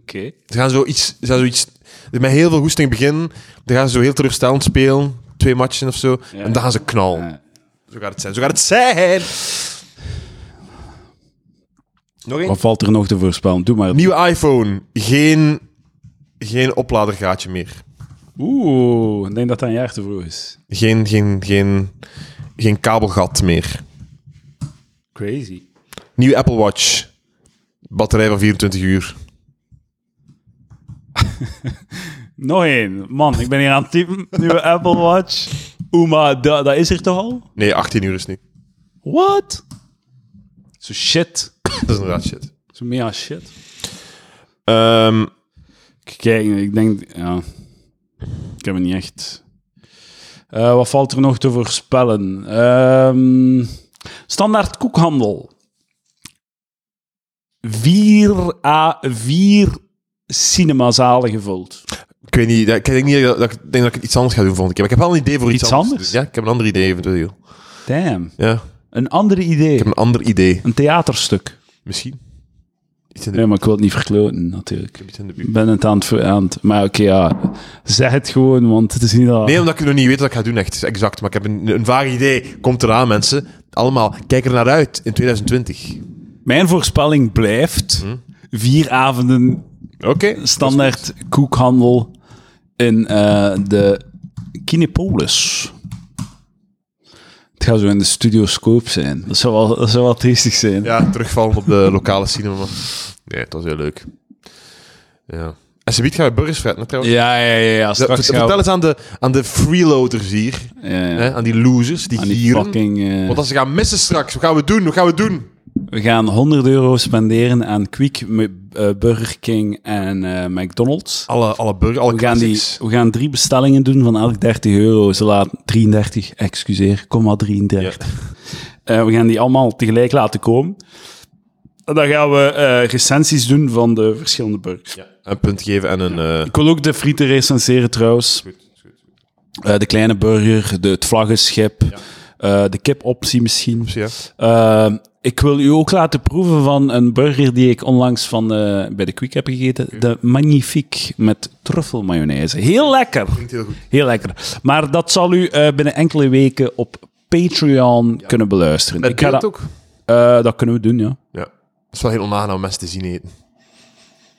S1: Oké.
S2: Ze gaan zoiets... Ze gaan zoiets met heel veel goesting beginnen. Dan gaan ze zo heel teleurstellend spelen. Twee matchen of zo. En dan gaan ze knallen.
S1: Ja.
S2: Zo gaat het zijn. Zo gaat het zijn! Nog één?
S1: Wat valt er nog te voorspellen? Doe maar.
S2: Nieuwe iPhone. Geen, geen opladergaatje meer.
S1: Oeh, ik denk dat dat een jaar te vroeg is.
S2: Geen, geen, geen, geen kabelgat meer.
S1: Crazy.
S2: Nieuwe Apple Watch. Batterij van 24 uur.
S1: Nog één. Man, ik ben hier aan het typen. Nieuwe Apple Watch. Oeh, maar dat, dat is er toch al?
S2: Nee, 18 uur is het nu.
S1: What? Zo shit.
S2: Dat is inderdaad shit.
S1: Zo meer als shit.
S2: Ehm,
S1: Kijk, ik denk... Ja. Ik heb het niet echt... Eh, wat valt er nog te voorspellen? Ehm, standaard koekhandel. 4 à 4 cinemazalen gevuld.
S2: ik weet niet, dat- ik denk niet dat, dat ik ik denk dat ik iets anders ga doen volgende keer. Maar ik heb wel een idee voor iets,
S1: Iets
S2: anders.
S1: anders?
S2: Ja, ik heb een ander idee eventueel.
S1: Damn.
S2: Ja,
S1: Een ander idee.
S2: ik heb een ander idee.
S1: Een theaterstuk.
S2: Misschien. Iets in de,
S1: Nee, maar ik wil het niet verkloten, natuurlijk.
S2: iets in de
S1: Ik
S2: buurt.
S1: ben het aan het... ver- aan het- maar oké, ja. Zeg het gewoon, want het is niet dat...
S2: Nee, omdat ik nog niet weet wat ik ga doen, echt exact. Maar ik heb een, een vaag idee. Komt eraan, mensen. Allemaal, kijk er naar uit in 2020.
S1: Mijn voorspelling blijft...
S2: Hm.
S1: Vier avonden
S2: Oké.
S1: standaard koekhandel in eh, de Kinepolis. Het gaat zo in de studioscoop zijn. Dat zou wel, dat zou wel triestig zijn.
S2: Ja, terugvallen op de lokale cinema. Nee, het was heel leuk. Ja. En ze biedt gaan we burgers fretten, hè, trouwens.
S1: ja, ja. ja, ja,
S2: Dat-
S1: Straks
S2: ver-
S1: gaan
S2: vertel
S1: we...
S2: eens aan de, aan de freeloaders hier.
S1: Ja, ja.
S2: Hè, aan die losers, die
S1: Aan die
S2: gieren.
S1: fucking... eh,
S2: Want als ze gaan missen straks, wat gaan we doen? Wat gaan we doen?
S1: We gaan 100 euro spenderen aan Quick, M- eh, Burger King en eh, McDonald's.
S2: Alle, alle burgers, alle
S1: We gaan, die,
S2: classics.
S1: we gaan drie bestellingen doen van elk 30 euro. Ze laten 33, excuseer, komma 33. Eh, we gaan die allemaal tegelijk laten komen. En dan gaan we eh, recensies doen van de verschillende burgers.
S2: Ja. Een punt geven en een... eh,
S1: Ik wil ook de frieten recenseren trouwens. Eh, de kleine burger, de, het vlaggenschip, eh, de kipoptie misschien.
S2: ja.
S1: Eh, ik wil u ook laten proeven van een burger die ik onlangs van, eh, bij de Quick heb gegeten. De Magnifique met truffelmayonaise. Heel lekker.
S2: Heel goed.
S1: Heel lekker. Maar dat zal u eh, binnen enkele weken op Patreon kunnen beluisteren.
S2: Met
S1: Ik ga
S2: beeld
S1: dat-
S2: ook?
S1: eh, dat kunnen we doen, ja.
S2: Ja. Het is wel heel onaangenaam om mensen te zien eten.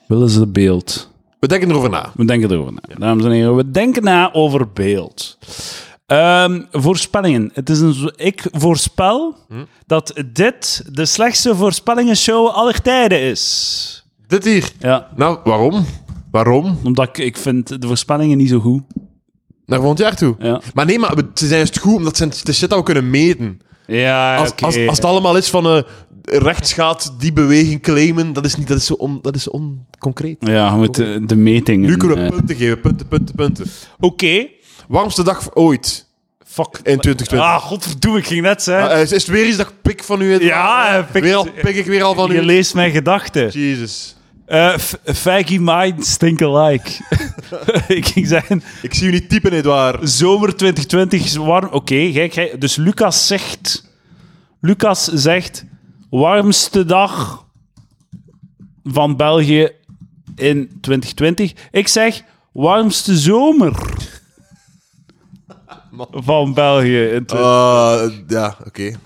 S1: Willen ze beeld?
S2: We denken erover na.
S1: We denken erover na. Dames en heren, we denken na over beeld. Ehm, voorspellingen. Het is een, zo- ik voorspel dat dit de slechtste voorspellingenshow aller tijden is.
S2: Dit hier.
S1: Ja,
S2: Nou, waarom? Waarom?
S1: omdat ik, ik vind de voorspellingen niet zo goed.
S2: Naar volgend jaar toe.
S1: Ja,
S2: Maar nee, maar we- ze zijn juist goed omdat ze het is shit dat we kunnen meten.
S1: ja
S2: Als, als, als het allemaal is van eh, rechts gaat die beweging claimen, dat is, niet, dat is, zo on, dat is onconcreet.
S1: Ja, je moet de, de metingen.
S2: Nu kunnen
S1: eh.
S2: we punten geven, punten, punten, punten.
S1: Oké.
S2: Warmste dag ooit
S1: Fuck.
S2: in 2020.
S1: Ah, godverdoe, ik ging net
S2: Ah,
S1: zeggen.
S2: eh, is is het weer iets dat ik pik van u? in?
S1: Ja, eh, pik-
S2: weer al, pik ik weer al van
S1: je
S2: u.
S1: leest mijn gedachten.
S2: Jezus.
S1: Eh, f- faggy mind, stink alike. ik ging zeggen,
S2: Ik zie u niet typen, Edouard.
S1: zomer 2020 is warm. Oké, gij- gij- dus Lucas zegt... Lucas zegt, warmste dag van België in 2020. Ik zeg, warmste zomer van België in 2020.
S2: Eh, ja, oké.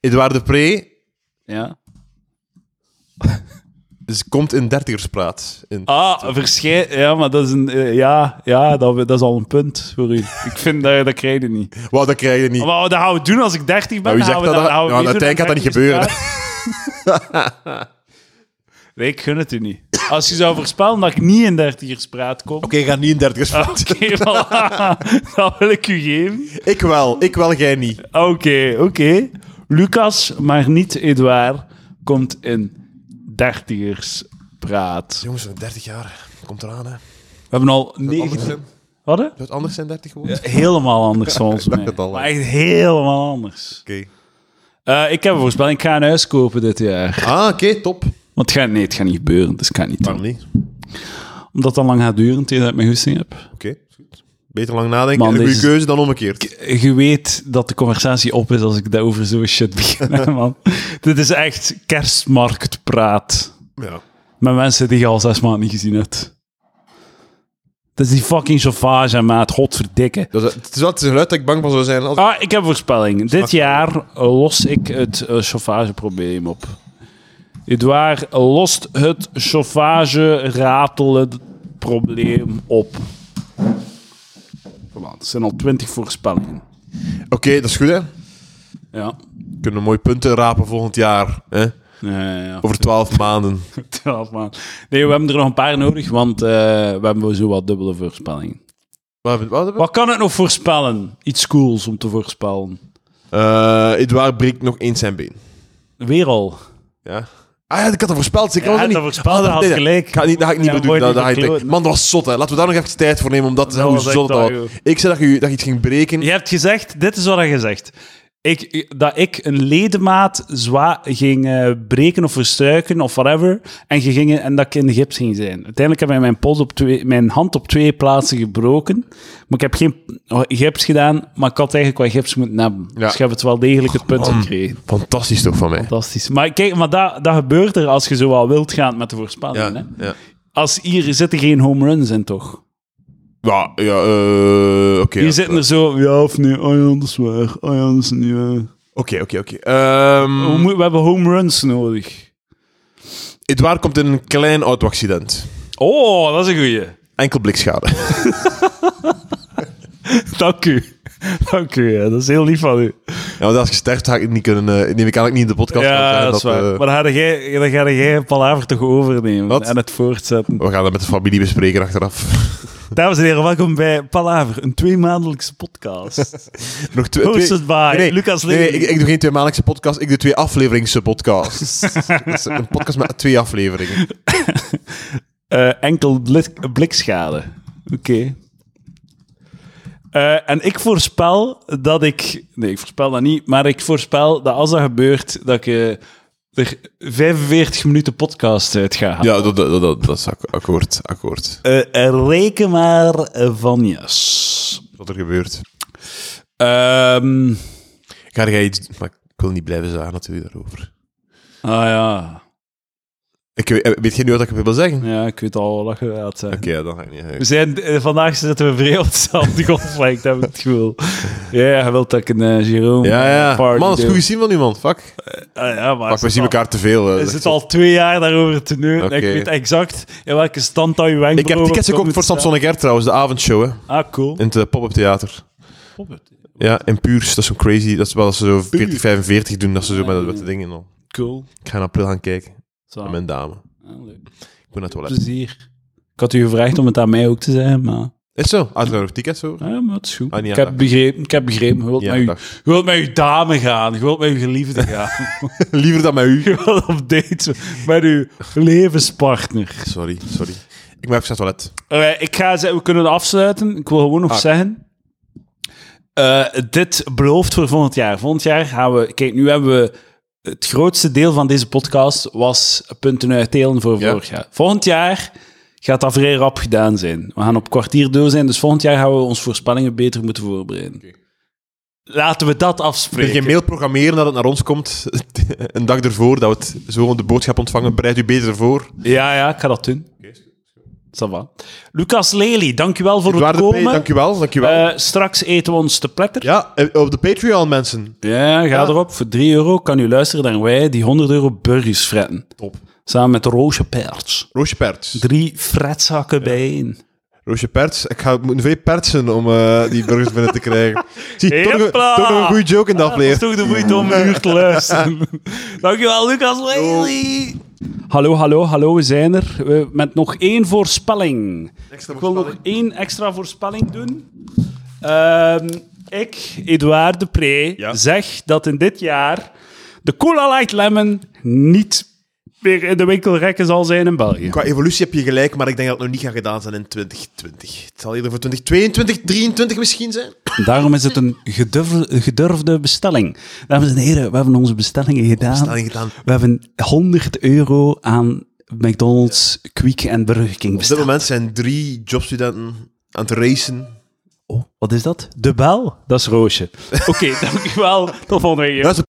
S2: Edouard de Pre
S1: ja.
S2: dus komt in dertigerspraat. In.
S1: Ah, verschijnen. Ja, maar dat is, een, eh, ja, ja, dat, dat is al een punt voor u. Ik vind dat, dat krijg je niet.
S2: Wauw, dat krijg je niet.
S1: Maar wat gaan we doen als ik 30 ben?
S2: Nou, wie
S1: Dan
S2: zegt
S1: gaan we
S2: dat?
S1: dan- gaan we
S2: Ja,
S1: meedoen aan
S2: uiteindelijk gaat dat niet gebeuren.
S1: 30 Nee, ik gun het u niet. Als je zou voorspellen dat ik niet in 30 praat kom.
S2: Oké, ga niet in dertigerspraat.
S1: Ah, Oké, voilà. dat wil ik u geven.
S2: Ik wel, ik wel, jij niet.
S1: Oké, oké. Lucas, maar niet Edouard, komt in 30 praat.
S2: Jongens, 30 jaar. Komt eraan, hè.
S1: We hebben al
S2: Anders
S1: 9.
S2: zijn,
S1: Wat? hè?
S2: zou het anders zijn 30 geworden?
S1: Helemaal anders volgens
S2: dacht
S1: mij.
S2: het al, hè.
S1: Maar echt helemaal anders.
S2: Oké.
S1: Eh, ik heb een voorspelling. Ik ga een huis kopen dit jaar.
S2: Ah, oké, top.
S1: Want het gaat, nee, het gaat niet gebeuren. Dus ik ga het niet doen.
S2: Waarom niet? Oké,
S1: Omdat het al lang gaat duren tegen dat ik mijn goesting heb.
S2: is goed. Beter lang nadenken.
S1: Man,
S2: een goede
S1: deze-
S2: keuze dan omgekeerd.
S1: Je weet dat de conversatie op is als ik daarover zo'n shit begin. hè, man. Dit is echt kerstmarktpraat.
S2: Ja.
S1: Met mensen die je al zes maanden niet gezien hebt. Dat is die fucking chauffage, maat. Godverdikke.
S2: Dat is, het is wel het geluid dat ik bang van zou zijn. Als...
S1: Ah, ik heb een voorspelling. Dit jaar eh, los ik het eh, chauffageprobleem op. Edouard lost het chauffage-ratelen probleem op. Voilà, het zijn al twintig voorspellingen.
S2: Oké, dat is goed, hè. We
S1: Ja.
S2: kunnen mooi punten rapen volgend jaar. Hè?
S1: Ja, ja,
S2: Over 12 maanden.
S1: twaalf maanden. Nee, we hebben er nog een paar nodig, want eh, we hebben zo wat dubbele voorspellingen.
S2: Wat hebben we?
S1: Wat kan het nog voorspellen? Iets cools om te voorspellen.
S2: Eh, Edouard breekt nog eens zijn been.
S1: Weer al.
S2: Ja. Ah ja, ik had dat voorspeld. Ik
S1: Ja,
S2: had
S1: hij
S2: dat
S1: had
S2: niet. Ah,
S1: dat voorspeld, hij had
S2: nee, nee.
S1: gelijk.
S2: Ik Ga, niet, dat ga ik niet
S1: Ja,
S2: meer doen.
S1: mooi
S2: Dat,
S1: niet
S2: dat ga ik
S1: verkloot.
S2: niet. Man, dat was zot, hè. Laten we daar nog even tijd voor nemen om dat te zeggen
S1: was
S2: hoe
S1: echt
S2: zot dat
S1: waar,
S2: was. Ik zei dat je, dat je iets ging breken.
S1: Je hebt gezegd, dit is wat je zegt. Ik, dat ik een ledemaat zwa ging eh, breken of verstuiken of whatever. En, je ging, en dat ik in de gips ging zijn. Uiteindelijk heb ik mijn, pols op twee, mijn hand op twee plaatsen gebroken. Maar ik heb geen gips gedaan, maar ik had eigenlijk wel gips moeten hebben. Dus ik heb het wel degelijk het
S2: Oh,
S1: punt gekregen.
S2: Fantastisch toch van mij.
S1: Fantastisch. Maar kijk, maar dat, dat gebeurt er als je zo wel wild gaat met de voorspellingen.
S2: Ja,
S1: Hè?
S2: ja.
S1: Als hier zitten geen home runs in, toch?
S2: Ja, ja, eh, oké.
S1: Hier
S2: ja.
S1: zitten er zo, ja of nee, oh ja, dat is waar, oh ja, dat is niet waar.
S2: Oké, oké, oké. Ehm,
S1: We, moeten- we hebben home runs nodig.
S2: Edouard komt in een klein auto-accident.
S1: Oh, dat is een goeie.
S2: Enkel blikschade.
S1: Dank u. Dank u, ja. dat is heel lief van u.
S2: ja, want als je sterft, ga ik niet kunnen... eh, neem ik aan dat ik niet in de podcast kan
S1: ja,
S2: zeggen
S1: dat is waar.
S2: eh,
S1: maar dan ga jij, dan ga jij Palaver toch overnemen
S2: Wat?
S1: en het voortzetten.
S2: we gaan dat met de familie bespreken achteraf.
S1: Dames en heren, welkom bij Palaver, een tweemaandelijkse podcast.
S2: Nog twee,
S1: Hosted
S2: twee-
S1: by Lucas
S2: nee, nee,
S1: Lely.
S2: ik, ik doe geen tweemaandelijkse podcast, ik doe twee afleveringse podcasts. Dat is een podcast met twee afleveringen.
S1: Eh, enkel blik- blikschade. Oké. Eh, en ik voorspel dat ik... Nee, ik voorspel dat niet. Maar ik voorspel dat als dat gebeurt, dat ik eh, er 45 minuten podcast uit ga halen.
S2: Ja, dat, dat, dat, dat is ak- akkoord, akkoord.
S1: Eh, eh, reken maar eh, van yes.
S2: Wat er gebeurt.
S1: Ehm,
S2: Ga jij iets... Maar ik wil niet blijven zagen natuurlijk daarover.
S1: ah ja.
S2: Ik, weet- eh, weet jij nu wat ik wil zeggen? Oké,
S1: ja, ik weet al wat je gaat zeggen.
S2: ja, dan ga ik niet...
S1: We zijn, eh, vandaag zitten we vrij op hetzelfde golflengte, heb ik het gevoel. Ja, je wilt dat ik een eh, Jerome
S2: Ja,
S1: eh,
S2: ja.
S1: party
S2: Man, dat is
S1: doe.
S2: goed gezien van iemand. Fuck.
S1: Ah, ja, maar
S2: Fuck,
S1: is
S2: we
S1: het
S2: zien
S1: al-
S2: elkaar te veel. eh.
S1: Is het al twee jaar daarover te neuren?
S2: Oké.
S1: Ik weet exact in welke stand dat je wenkbrauwen...
S2: Ik heb tickets gekocht voor
S1: moeten
S2: Samson en Gert trouwens, de avondshow hè,
S1: staan. Ah, cool.
S2: in het eh, pop-up theater. Ja, in Puurs, dat is zo'n crazy. Dat is wel als ze zo 40, 45 doen, dat ze zo met dat witte dingen al.
S1: Cool.
S2: Ik ga in april gaan kijken
S1: Zo.
S2: met mijn dame.
S1: Ah, leuk.
S2: Ik moet naar het
S1: Dus-
S2: toilet.
S1: Plezier. Ik had u gevraagd om het aan mij ook te zeggen, maar...
S2: Is zo? Had je daar nog tickets voor?
S1: Ja, maar het is goed.
S2: Ah, niet
S1: ik,
S2: aan
S1: heb
S2: dag.
S1: begrepen, ik heb begrepen. Je wilt,
S2: Ja,
S1: met, u,
S2: dag.
S1: je wilt met uw dame gaan. Je wilt met uw geliefde gaan.
S2: Liever dan met u.
S1: je wilt op date met uw levenspartner.
S2: Sorry, sorry. Ik moet even naar het toilet.
S1: Eh, ik ga zeggen, we kunnen afsluiten. Ik wil gewoon
S2: Ah.
S1: nog zeggen... eh, dit belooft voor volgend jaar. Volgend jaar gaan we... Kijk, nu hebben we... Het grootste deel van deze podcast was punten uit Telen voor
S2: Ja.
S1: vorig jaar. Volgend jaar gaat dat vrij rap gedaan zijn. We gaan op kwartier door zijn, dus volgend jaar gaan we ons voorspellingen beter moeten voorbereiden. Laten we dat
S2: Kun je
S1: afspreken.
S2: een mail programmeren dat het naar ons komt een dag ervoor, dat we het zo de boodschap ontvangen? Bereid u beter voor.
S1: Ja, ja, ik ga dat doen. Ça va. Lucas Lely, dankjewel voor het
S2: Waarde P,
S1: komen.
S2: dankjewel. dankjewel.
S1: Eh, straks eten we ons te pletter.
S2: ja, eh, op de Patreon, mensen.
S1: Ja, ga erop. Voor 3 euro kan u luisteren naar wij die 100 euro burgers fretten.
S2: Top.
S1: Samen met Roosje Perts.
S2: Roosje Perts.
S1: Drie fretzakken bijeen.
S2: Roosje Perts. Ik ga moeten veel pertsen om eh, die burgers binnen te krijgen. Zie, toch, nog-
S1: Hopla.
S2: toch nog een goede joke in de aflevering.
S1: Dat is toch de moeite om een uur te luisteren. Dankjewel, Lucas Lely. Hallo, hallo, hallo, we zijn er. We- met nog één voorspelling. Ik wil nog één extra voorspelling doen. Ehm, ik, Edouard de Pre,
S2: Ja.
S1: zeg dat in dit jaar de Cola Light Lemon niet meer in de winkelrekken zal zijn in België.
S2: Qua evolutie heb je gelijk, maar ik denk dat het nog niet gaat gedaan zijn in 2020. Het zal eerder voor 2022, 2023 misschien zijn.
S1: Daarom is het een gedurf- gedurfde bestelling. Dames en heren, we hebben onze bestellingen gedaan.
S2: Bestellingen gedaan.
S1: We hebben 100 euro aan McDonald's, Quick en Burger King
S2: Op dit
S1: besteld.
S2: moment zijn drie jobstudenten aan het racen.
S1: Oh, wat is dat? De bel? Dat is Roosje. Oké, dankjewel. Tot volgende week.
S2: Dat is